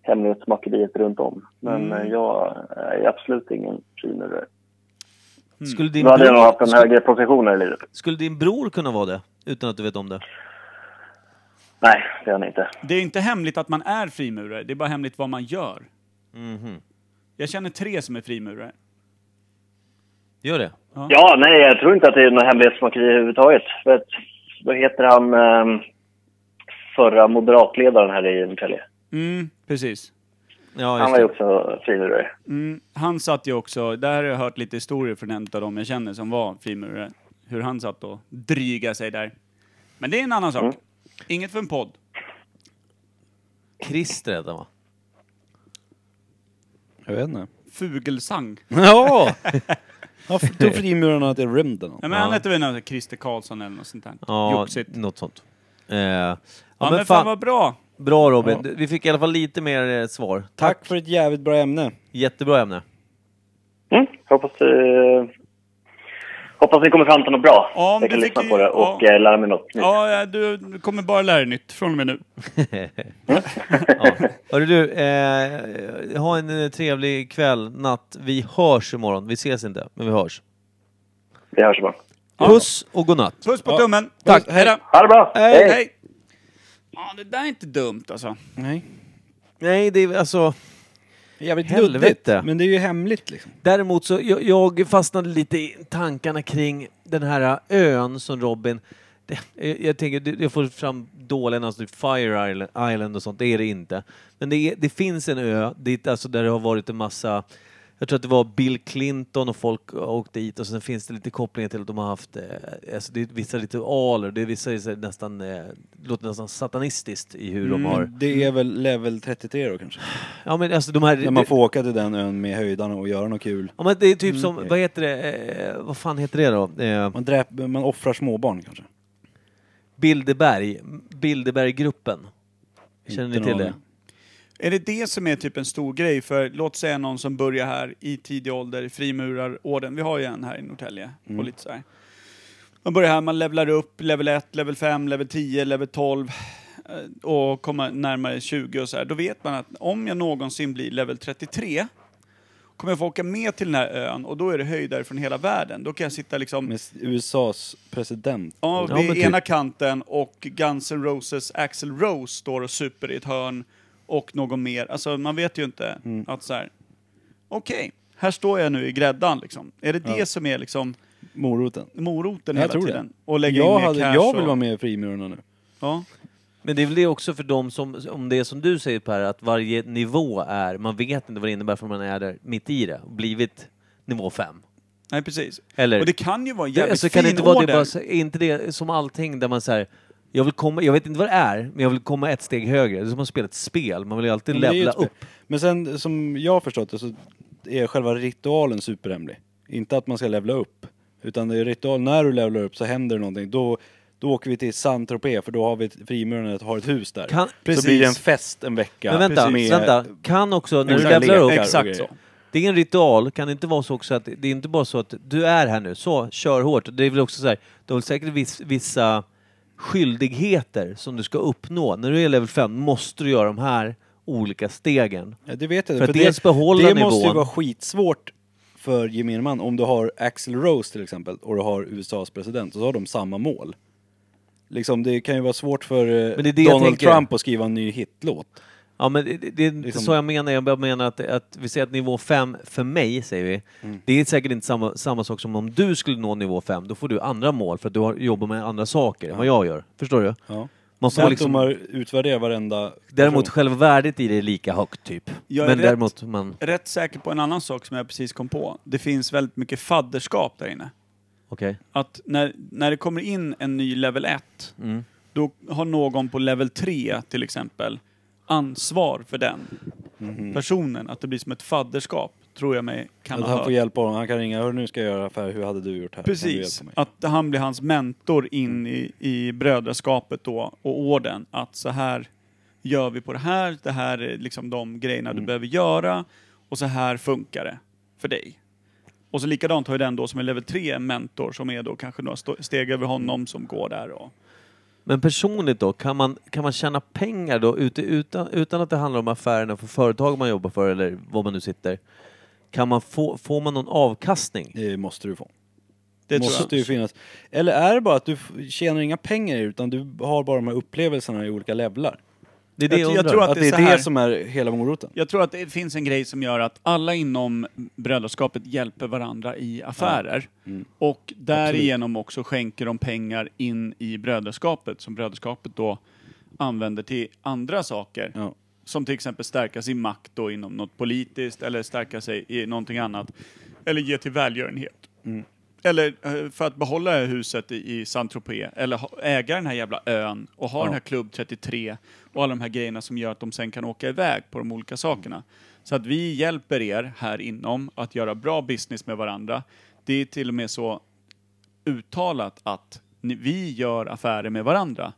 I: hemlighetsmakeriet runt om. Men
E: Mm.
I: eh, jag är absolut ingen frimurare.
B: Mm.
E: Skulle, din
I: Då hade jag nog haft
E: bror,
I: en högre position här i livet.
E: skulle din bror kunna vara det? Utan att du vet om det?
I: Nej, det är han inte.
B: Det är inte hemligt att man är frimurare, det är bara hemligt vad man gör. Mhm. Jag känner tre som är frimurare.
E: Gör det?
I: Ja, nej, jag tror inte att det är något hemlighetsmakeri överhuvudtaget. För att, vad heter han, ehm, förra moderatledaren här i Norrtälje?
B: Mm, precis.
E: Ja, just
I: Han var ju
E: det.
I: också frimurare.
B: Mm, han satt ju också, där har jag hört lite historier från en av dem jag känner som var frimurare. Hur han satt och dryga sig där. Men det är en annan sak. Inget för en podd.
E: Christer hette han va?
C: Jag vet inte.
B: Fugelsang.
C: Ja! Jag tror frimurarna att det är rymden.
B: Nej, men Han hette väl något Christer Karlsson eller något sånt där.
E: Ja,
B: Joxigt. Ja,
E: något sånt. Eh, ja,
B: men, fan, vad bra.
E: Bra Robin, Du- vi fick i alla fall lite mer eh, svar. Tack!
C: Tack för ett jävligt bra ämne.
E: Jättebra ämne.
I: Mm. Hoppas, eh, hoppas ni kommer fram till något bra.
B: Ja, men
I: jag
B: det
I: kan
B: fick
I: lyssna
B: ju-
I: på det och
B: ja.
I: eh, lära mig något nytt.
B: Ja, du, du kommer bara lära dig nytt från och med nu.
E: Ja. Hörru du, eh, ha en eh, trevlig kväll, natt. Vi hörs imorgon. Vi ses inte, men vi hörs.
I: Vi hörs imorgon.
E: Puss och godnatt!
B: Puss på tummen.
C: Tack.
B: Hej då.
I: Ha det bra!
B: Hej. Ja, det där är inte dumt alltså.
C: Nej.
E: Nej, det är alltså...
C: Jävligt
E: Helvete.
C: luddigt. Men det är ju hemligt liksom.
E: Däremot så, jag, jag fastnade lite i tankarna kring den här ä, ön som Robin... Det, jag, jag tänker, det- jag får fram dåliga alltså typ Fire Island, Island och sånt, det är det inte. Men det, är, det finns en ö dit, alltså där det har varit en massa... Jag tror att det var Bill Clinton och folk åkte dit och sen finns det lite kopplingar till att de har haft eh, alltså det är vissa ritualer, det är vissa så här nästan, eh, låter nästan satanistiskt i hur
C: Mm.
E: de har...
C: Det är väl level 33 då kanske?
E: Ja men alltså de här...
C: När man får Mm. åka till den ön med höjdarna och göra något kul.
E: Ja men det är typ som, vad heter det, eh, vad fan heter det då? Eh,
C: Man, dräp, man offrar småbarn kanske.
E: Bilderberg, Bilderberggruppen. Känner ni
C: Inte
E: till
C: någon
E: det?
C: aning.
B: Är det det som är typ en stor grej för, låt säga någon som börjar här i tidig ålder, i frimurarorden, vi har ju en här i Norrtälje, och lite så här. Man börjar här, man levlar upp, level 1, level 5, level 10, level 12 eh, och kommer närmare 20 och så här. Då vet man att om jag någonsin blir level 33 kommer jag få åka med till den här ön och då är det höjdare från hela världen. Då kan jag sitta liksom
C: Med s- USAs president.
B: Ja,
E: Ja,
B: vid
E: men typ.
B: ena kanten och Guns N' Roses Axl Rose står och super i ett hörn och någon mer. Alltså man vet ju inte
E: Mm.
B: att så här. okej, här står jag nu i gräddan liksom. Är det det som är liksom
C: Moroten.
B: moroten
C: Jag
B: hela
C: tror det.
B: tiden? Och lägga in
C: Jag,
B: mer
C: hade,
B: cash
C: jag vill
B: och,
C: vara med i Frimurarna nu.
B: Ja.
E: Men det är väl det också för dem som, om det är som du säger Per, att varje nivå är, man vet inte vad det innebär för man är där mitt i det och blivit nivå 5.
B: Nej precis.
E: Eller?
B: Och det kan ju vara en
E: Det-
B: jävligt
E: alltså,
B: fin
E: kan det inte vara det,
B: order.
E: bara, så- är inte det som allting där man säger jag vill komma, jag vet inte vad det är, men jag vill komma ett steg högre. Det är som att spela ett spel, man vill ju alltid
C: Men det är ju
E: levla
C: ett spel.
E: upp.
C: Men sen som jag har förstått det så är själva ritualen superhemlig. Inte att man ska levla upp. Utan det är ritual, när du levlar upp så händer det någonting. Då, då ååker vi till Saint-Tropez för då har vi ett- frimurarna har ett hus där.
E: Kan-
C: så blir det en fest en vecka.
E: Men vänta,
C: med-
E: vänta. Kan också, när du
C: Exakt.
E: levlar upp,
C: Exakt.
B: Exakt så.
C: grejer.
E: Det är en ritual, kan det inte vara så också att det är inte bara så att du är här nu, så kör hårt. Det är väl också så här, de har säkert viss, vissa skyldigheter som du ska uppnå. När du är level 5 måste du göra de här olika stegen.
C: Ja, det vet jag.
E: För att dels behålla
C: Det måste ju
E: nivån.
C: vara skitsvårt för gemene man. Om du har Axel Rose till exempel och du har USAs president och så har de samma mål. Liksom, det kan ju vara svårt för eh,
E: Men det är det jag
C: Donald
E: tänker.
C: Trump att skriva en ny hitlåt.
E: Ja, men det, det det är inte
C: Liksom-
E: så jag menar. Jag bara menar att, att vi säger att nivå 5, för mig säger vi, det är säkert inte samma, samma sak som om du skulle nå nivå 5. Då får du andra mål för att du har, jobbar med andra saker än vad jag gör. Förstår du?
C: Ja.
E: Man
C: Så
E: får
C: att de har
E: liksom,
C: utvärderat varenda...
E: däremot
C: person.
E: själva värdet i det är lika högt typ.
B: Jag är
E: men
B: rätt-
E: däremot man...
B: Rätt säker på en annan sak som jag precis kom på. Det finns väldigt mycket fadderskap där inne.
E: Okej.
B: Att när, när det kommer in en ny level 1,
E: Mm.
B: då har någon på level 3 till exempel ansvar för den personen. Att det blir som ett fadderskap, tror jag mig kan
C: Mhm. Att
B: ha
C: han får
B: hört.
C: hjälp av honom. Han kan ringa. Hör nu ska jag göra affär. Hur hade du gjort här? Kan du
B: Precis,
C: hjälpa mig? Mm.
B: att han blir hans mentor in i, i brödraskapet då och orden att så här gör vi på det här, det här är liksom de grejerna
C: Mm.
B: du behöver göra och så här funkar det för dig. Och så likadant har ju den då som är level 3 en mentor som är då kanske några sto- steg över honom som går där och
E: Men personligt då, kan man, kan man tjäna pengar då ute, utan, utan att det handlar om affärerna för företag man jobbar för eller vad man nu sitter? Kan man få, får man någon avkastning?
C: Det måste du få.
B: det tror
C: måste
B: jag.
C: ju finnas. Eller är det bara att du f- tjänar inga pengar i det, utan du har bara de här upplevelserna i olika levlar?
E: Det är det
B: Jag-
E: jag,
B: jag
E: undrar.
B: tror
C: Att,
B: Att
C: det
B: det
C: är
B: så här-
C: det som är hela moroten?
B: Jag tror att det finns en grej som gör att alla inom brödraskapet hjälper varandra i affärer. Och därigenom också skänker de pengar in i brödraskapet som brödraskapet då använder till andra saker.
C: Ja.
B: Som till exempel stärka sin makt då inom något politiskt eller stärka sig i någonting annat. Eller ge till välgörenhet. Eller eh, för att behålla det här huset i, i Saint-Tropez, eller ha, äga den här jävla ön och ha den här klubb 33 och alla de här grejerna som gör att de sen kan åka iväg på de olika sakerna. Så att vi hjälper er här inom att göra bra business med varandra. Det är till och med så uttalat att ni, vi gör affärer med varandra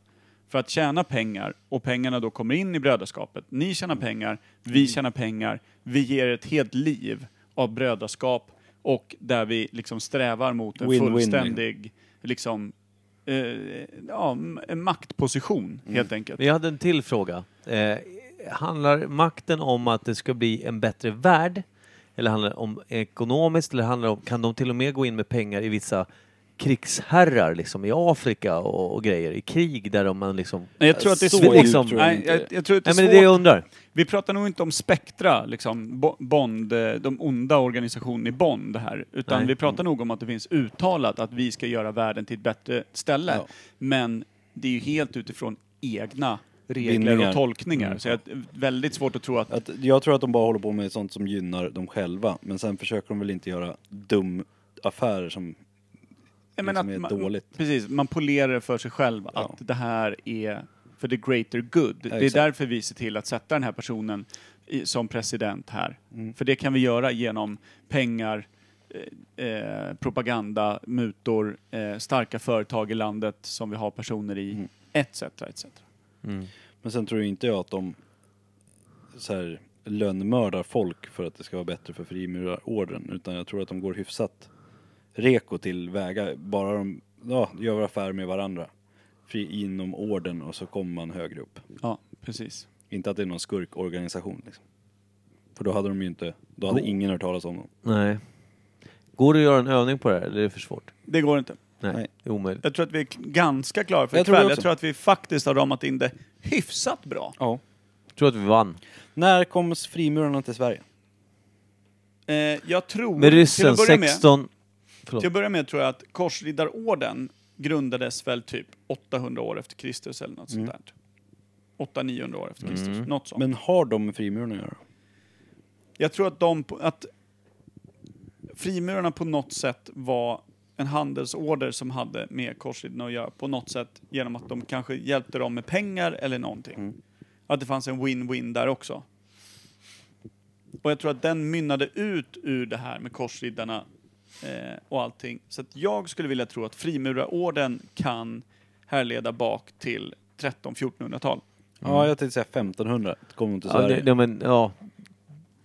B: för att tjäna pengar och pengarna då kommer in i brödraskapet. Ni tjänar pengar,
E: Mm.
B: vi tjänar pengar, vi ger ett helt liv av brödraskap och där vi liksom strävar mot en
C: Win-win,
B: fullständig liksom, eh, ja, m- en maktposition helt enkelt.
E: Men Mm. jag hade en till fråga. Eh, handlar makten om att det ska bli en bättre värld? Eller handlar det om ekonomiskt? Eller handlar det om, kan de till och med gå in med pengar i vissa krigsherrar liksom i Afrika och, och grejer, i krig där de man liksom...
B: Nej, jag tror att det är
E: Så
B: svårt.
E: liksom-
C: tror jag
B: Nej,
C: inte
B: jag,
C: det.
B: jag tror att det är
E: Nej men det är det jag
B: svårt.
E: undrar.
B: Vi pratar nog inte om Spektra, liksom, Bo- Bond, eh, de onda organisationerna i Bond här. Utan
E: Nej.
B: vi pratar nog om att det finns uttalat att vi ska göra världen till ett bättre ställe.
C: Ja.
B: Men det är ju helt utifrån egna regler
C: Bindningar. Mm.
B: och tolkningar. Så jag är väldigt svårt att tro att...
C: Att, jag tror att de bara håller på med sånt som gynnar dem själva, men sen försöker de väl inte göra dum affärer som...
B: Jag menar
C: som är
B: man,
C: dåligt.
B: Precis, man polerar det för sig själv
C: Ja.
B: att det här är för the greater good. Det är
C: exakt.
B: därför vi ser till att sätta den här personen i, som president här.
C: Mm.
B: För det kan vi göra genom pengar, eh, eh, propaganda, mutor, eh, starka företag i landet som vi har personer i,
C: Mm.
B: etc. etc.
C: Men sen tror jag inte jag att de så här, lönnmördar folk för att det ska vara bättre för frimurarorden, utan jag tror att de går hyfsat reko till väga, bara de ja, gör affärer med varandra. Fri inom orden och så kommer man högre upp.
B: Ja, precis.
C: Inte att det är någon skurkorganisation liksom. För då hade de ju inte, då hade ingen hört talas om dem.
E: Nej. Går det att göra en övning på det här eller är det för svårt?
B: Det går inte.
E: Nej,
C: Nej.
E: det är omöjligt.
B: Jag tror att vi är k- ganska klara för
C: Jag tror det
B: ikväll. Jag
C: också.
B: tror att vi faktiskt har ramat in det hyfsat bra.
C: Ja.
E: Jag tror att vi vann.
C: När kom frimurarna till Sverige?
B: Eh, jag tror...
E: Med
B: till
E: ryssen
B: att börja med-
E: 16... Förlåt.
B: Till att börja med tror jag att korsriddarorden grundades väl typ 800 år efter Kristus eller något sånt där. 800-900 år efter Kristus, något sånt.
C: Men har de med frimurarna att göra?
B: jag tror att de, på- att frimurarna på något sätt var en handelsorder som hade med korsriddarna att göra på något sätt genom att de kanske hjälpte dem med pengar eller någonting. Att det fanns en win-win där också. Och jag tror att den mynnade ut ur det här med korsriddarna eh, och allting. Så att jag skulle vilja tro att frimurarorden kan härleda bak till 13-1400-tal.
C: Ja, jag tänkte säga 1500 kom de till
E: Ja,
C: Sverige.
E: det, ja, men, ja.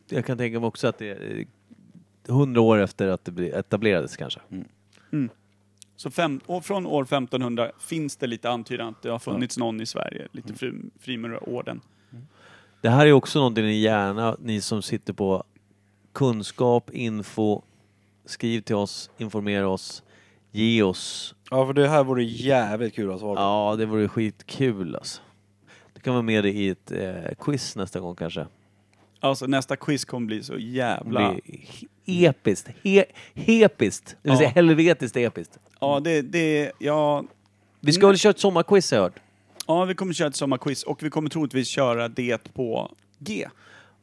E: Jag kan tänka mig eh, också att det är hundra år efter att det blir- etablerades kanske.
B: Så fem, och från år 1500 finns det lite antydan att det har funnits någon i Sverige, lite
C: Mm.
B: fri, frimurarorden.
E: Det här är också någonting i gärna, ni som sitter på kunskap, info, skriv till oss, informera oss, ge oss.
C: Ja, för det här vore jävligt kul att svara på.
E: Ja, det vore skitkul alltså. Du kan vara med i ett eh, quiz nästa gång kanske.
B: Alltså nästa quiz kommer bli så
E: Det
B: jävla...
E: blir he- episkt, he- hepiskt, det vill
B: Ja.
E: säga helvetiskt episkt.
B: Ja, det, det, ja,
E: Vi ska väl köra ett sommarquiz har jag hört?
B: ja, vi kommer köra ett sommarquiz och vi kommer troligtvis köra det på G.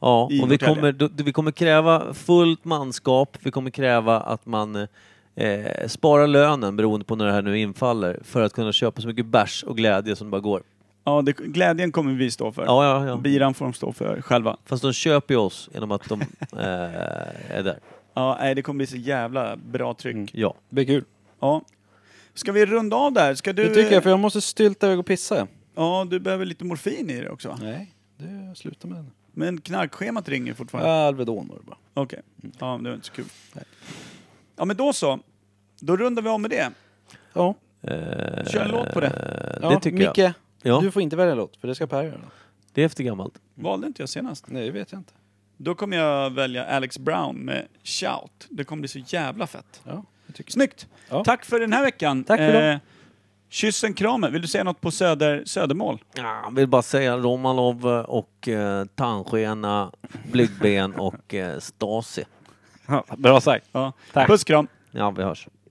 E: Ja,
B: I
E: och vi
B: Norrtälje.
E: kommer, då, vi kommer kräva fullt manskap. Vi kommer kräva att man eh, sparar lönen beroende på när det här nu infaller för att kunna köpa så mycket bärs och glädje som det bara går.
B: Ja, det, glädjen kommer vi stå för.
E: Ja, ja, ja.
B: Biran får de stå för själva.
E: Fast de köper ju oss genom att de eh, är där.
B: Ja, nej, det kommer bli så jävla bra tryck.
C: Mm.
E: Ja.
C: Det blir kul.
B: Ja. Ska vi runda av där? Ska du...
C: Det tycker jag, för jag måste stylta iväg och pissa.
B: Ja, du behöver lite morfin i dig också. va?
C: Nej, det slutar med det.
B: Men knarkschemat ringer fortfarande.
C: Alvedon var det bara.
B: Okej. Ja, men det var inte så kul. Ja, men då så. Då rundar vi av med det.
C: Ja,
E: Eh,
B: Kör en låt på det.
E: Eh,
C: ja
E: det tycker
C: Micke,
E: jag. Ja,
C: du får inte välja låt, för det ska Per göra.
E: det är efter gammalt.
B: Valde inte jag senast.
C: Nej, det vet jag inte.
B: Då kommer jag välja Alex Brown med Shout. Det kommer bli så jävla fett.
C: Ja, det tycker jag.
B: Snyggt!
C: Ja.
B: Tack för den här veckan. Eh,
C: Tack för det.
B: kyssen, kramen. Vill du säga något på söder, Södermål?
E: Ja, Jag vill bara säga Romanov och eh, tandskena, blygdben och eh, Stasi.
C: Bra sagt.
B: Ja.
C: Tack.
B: Puss, kram.
E: Ja, vi hörs.
I: Oh,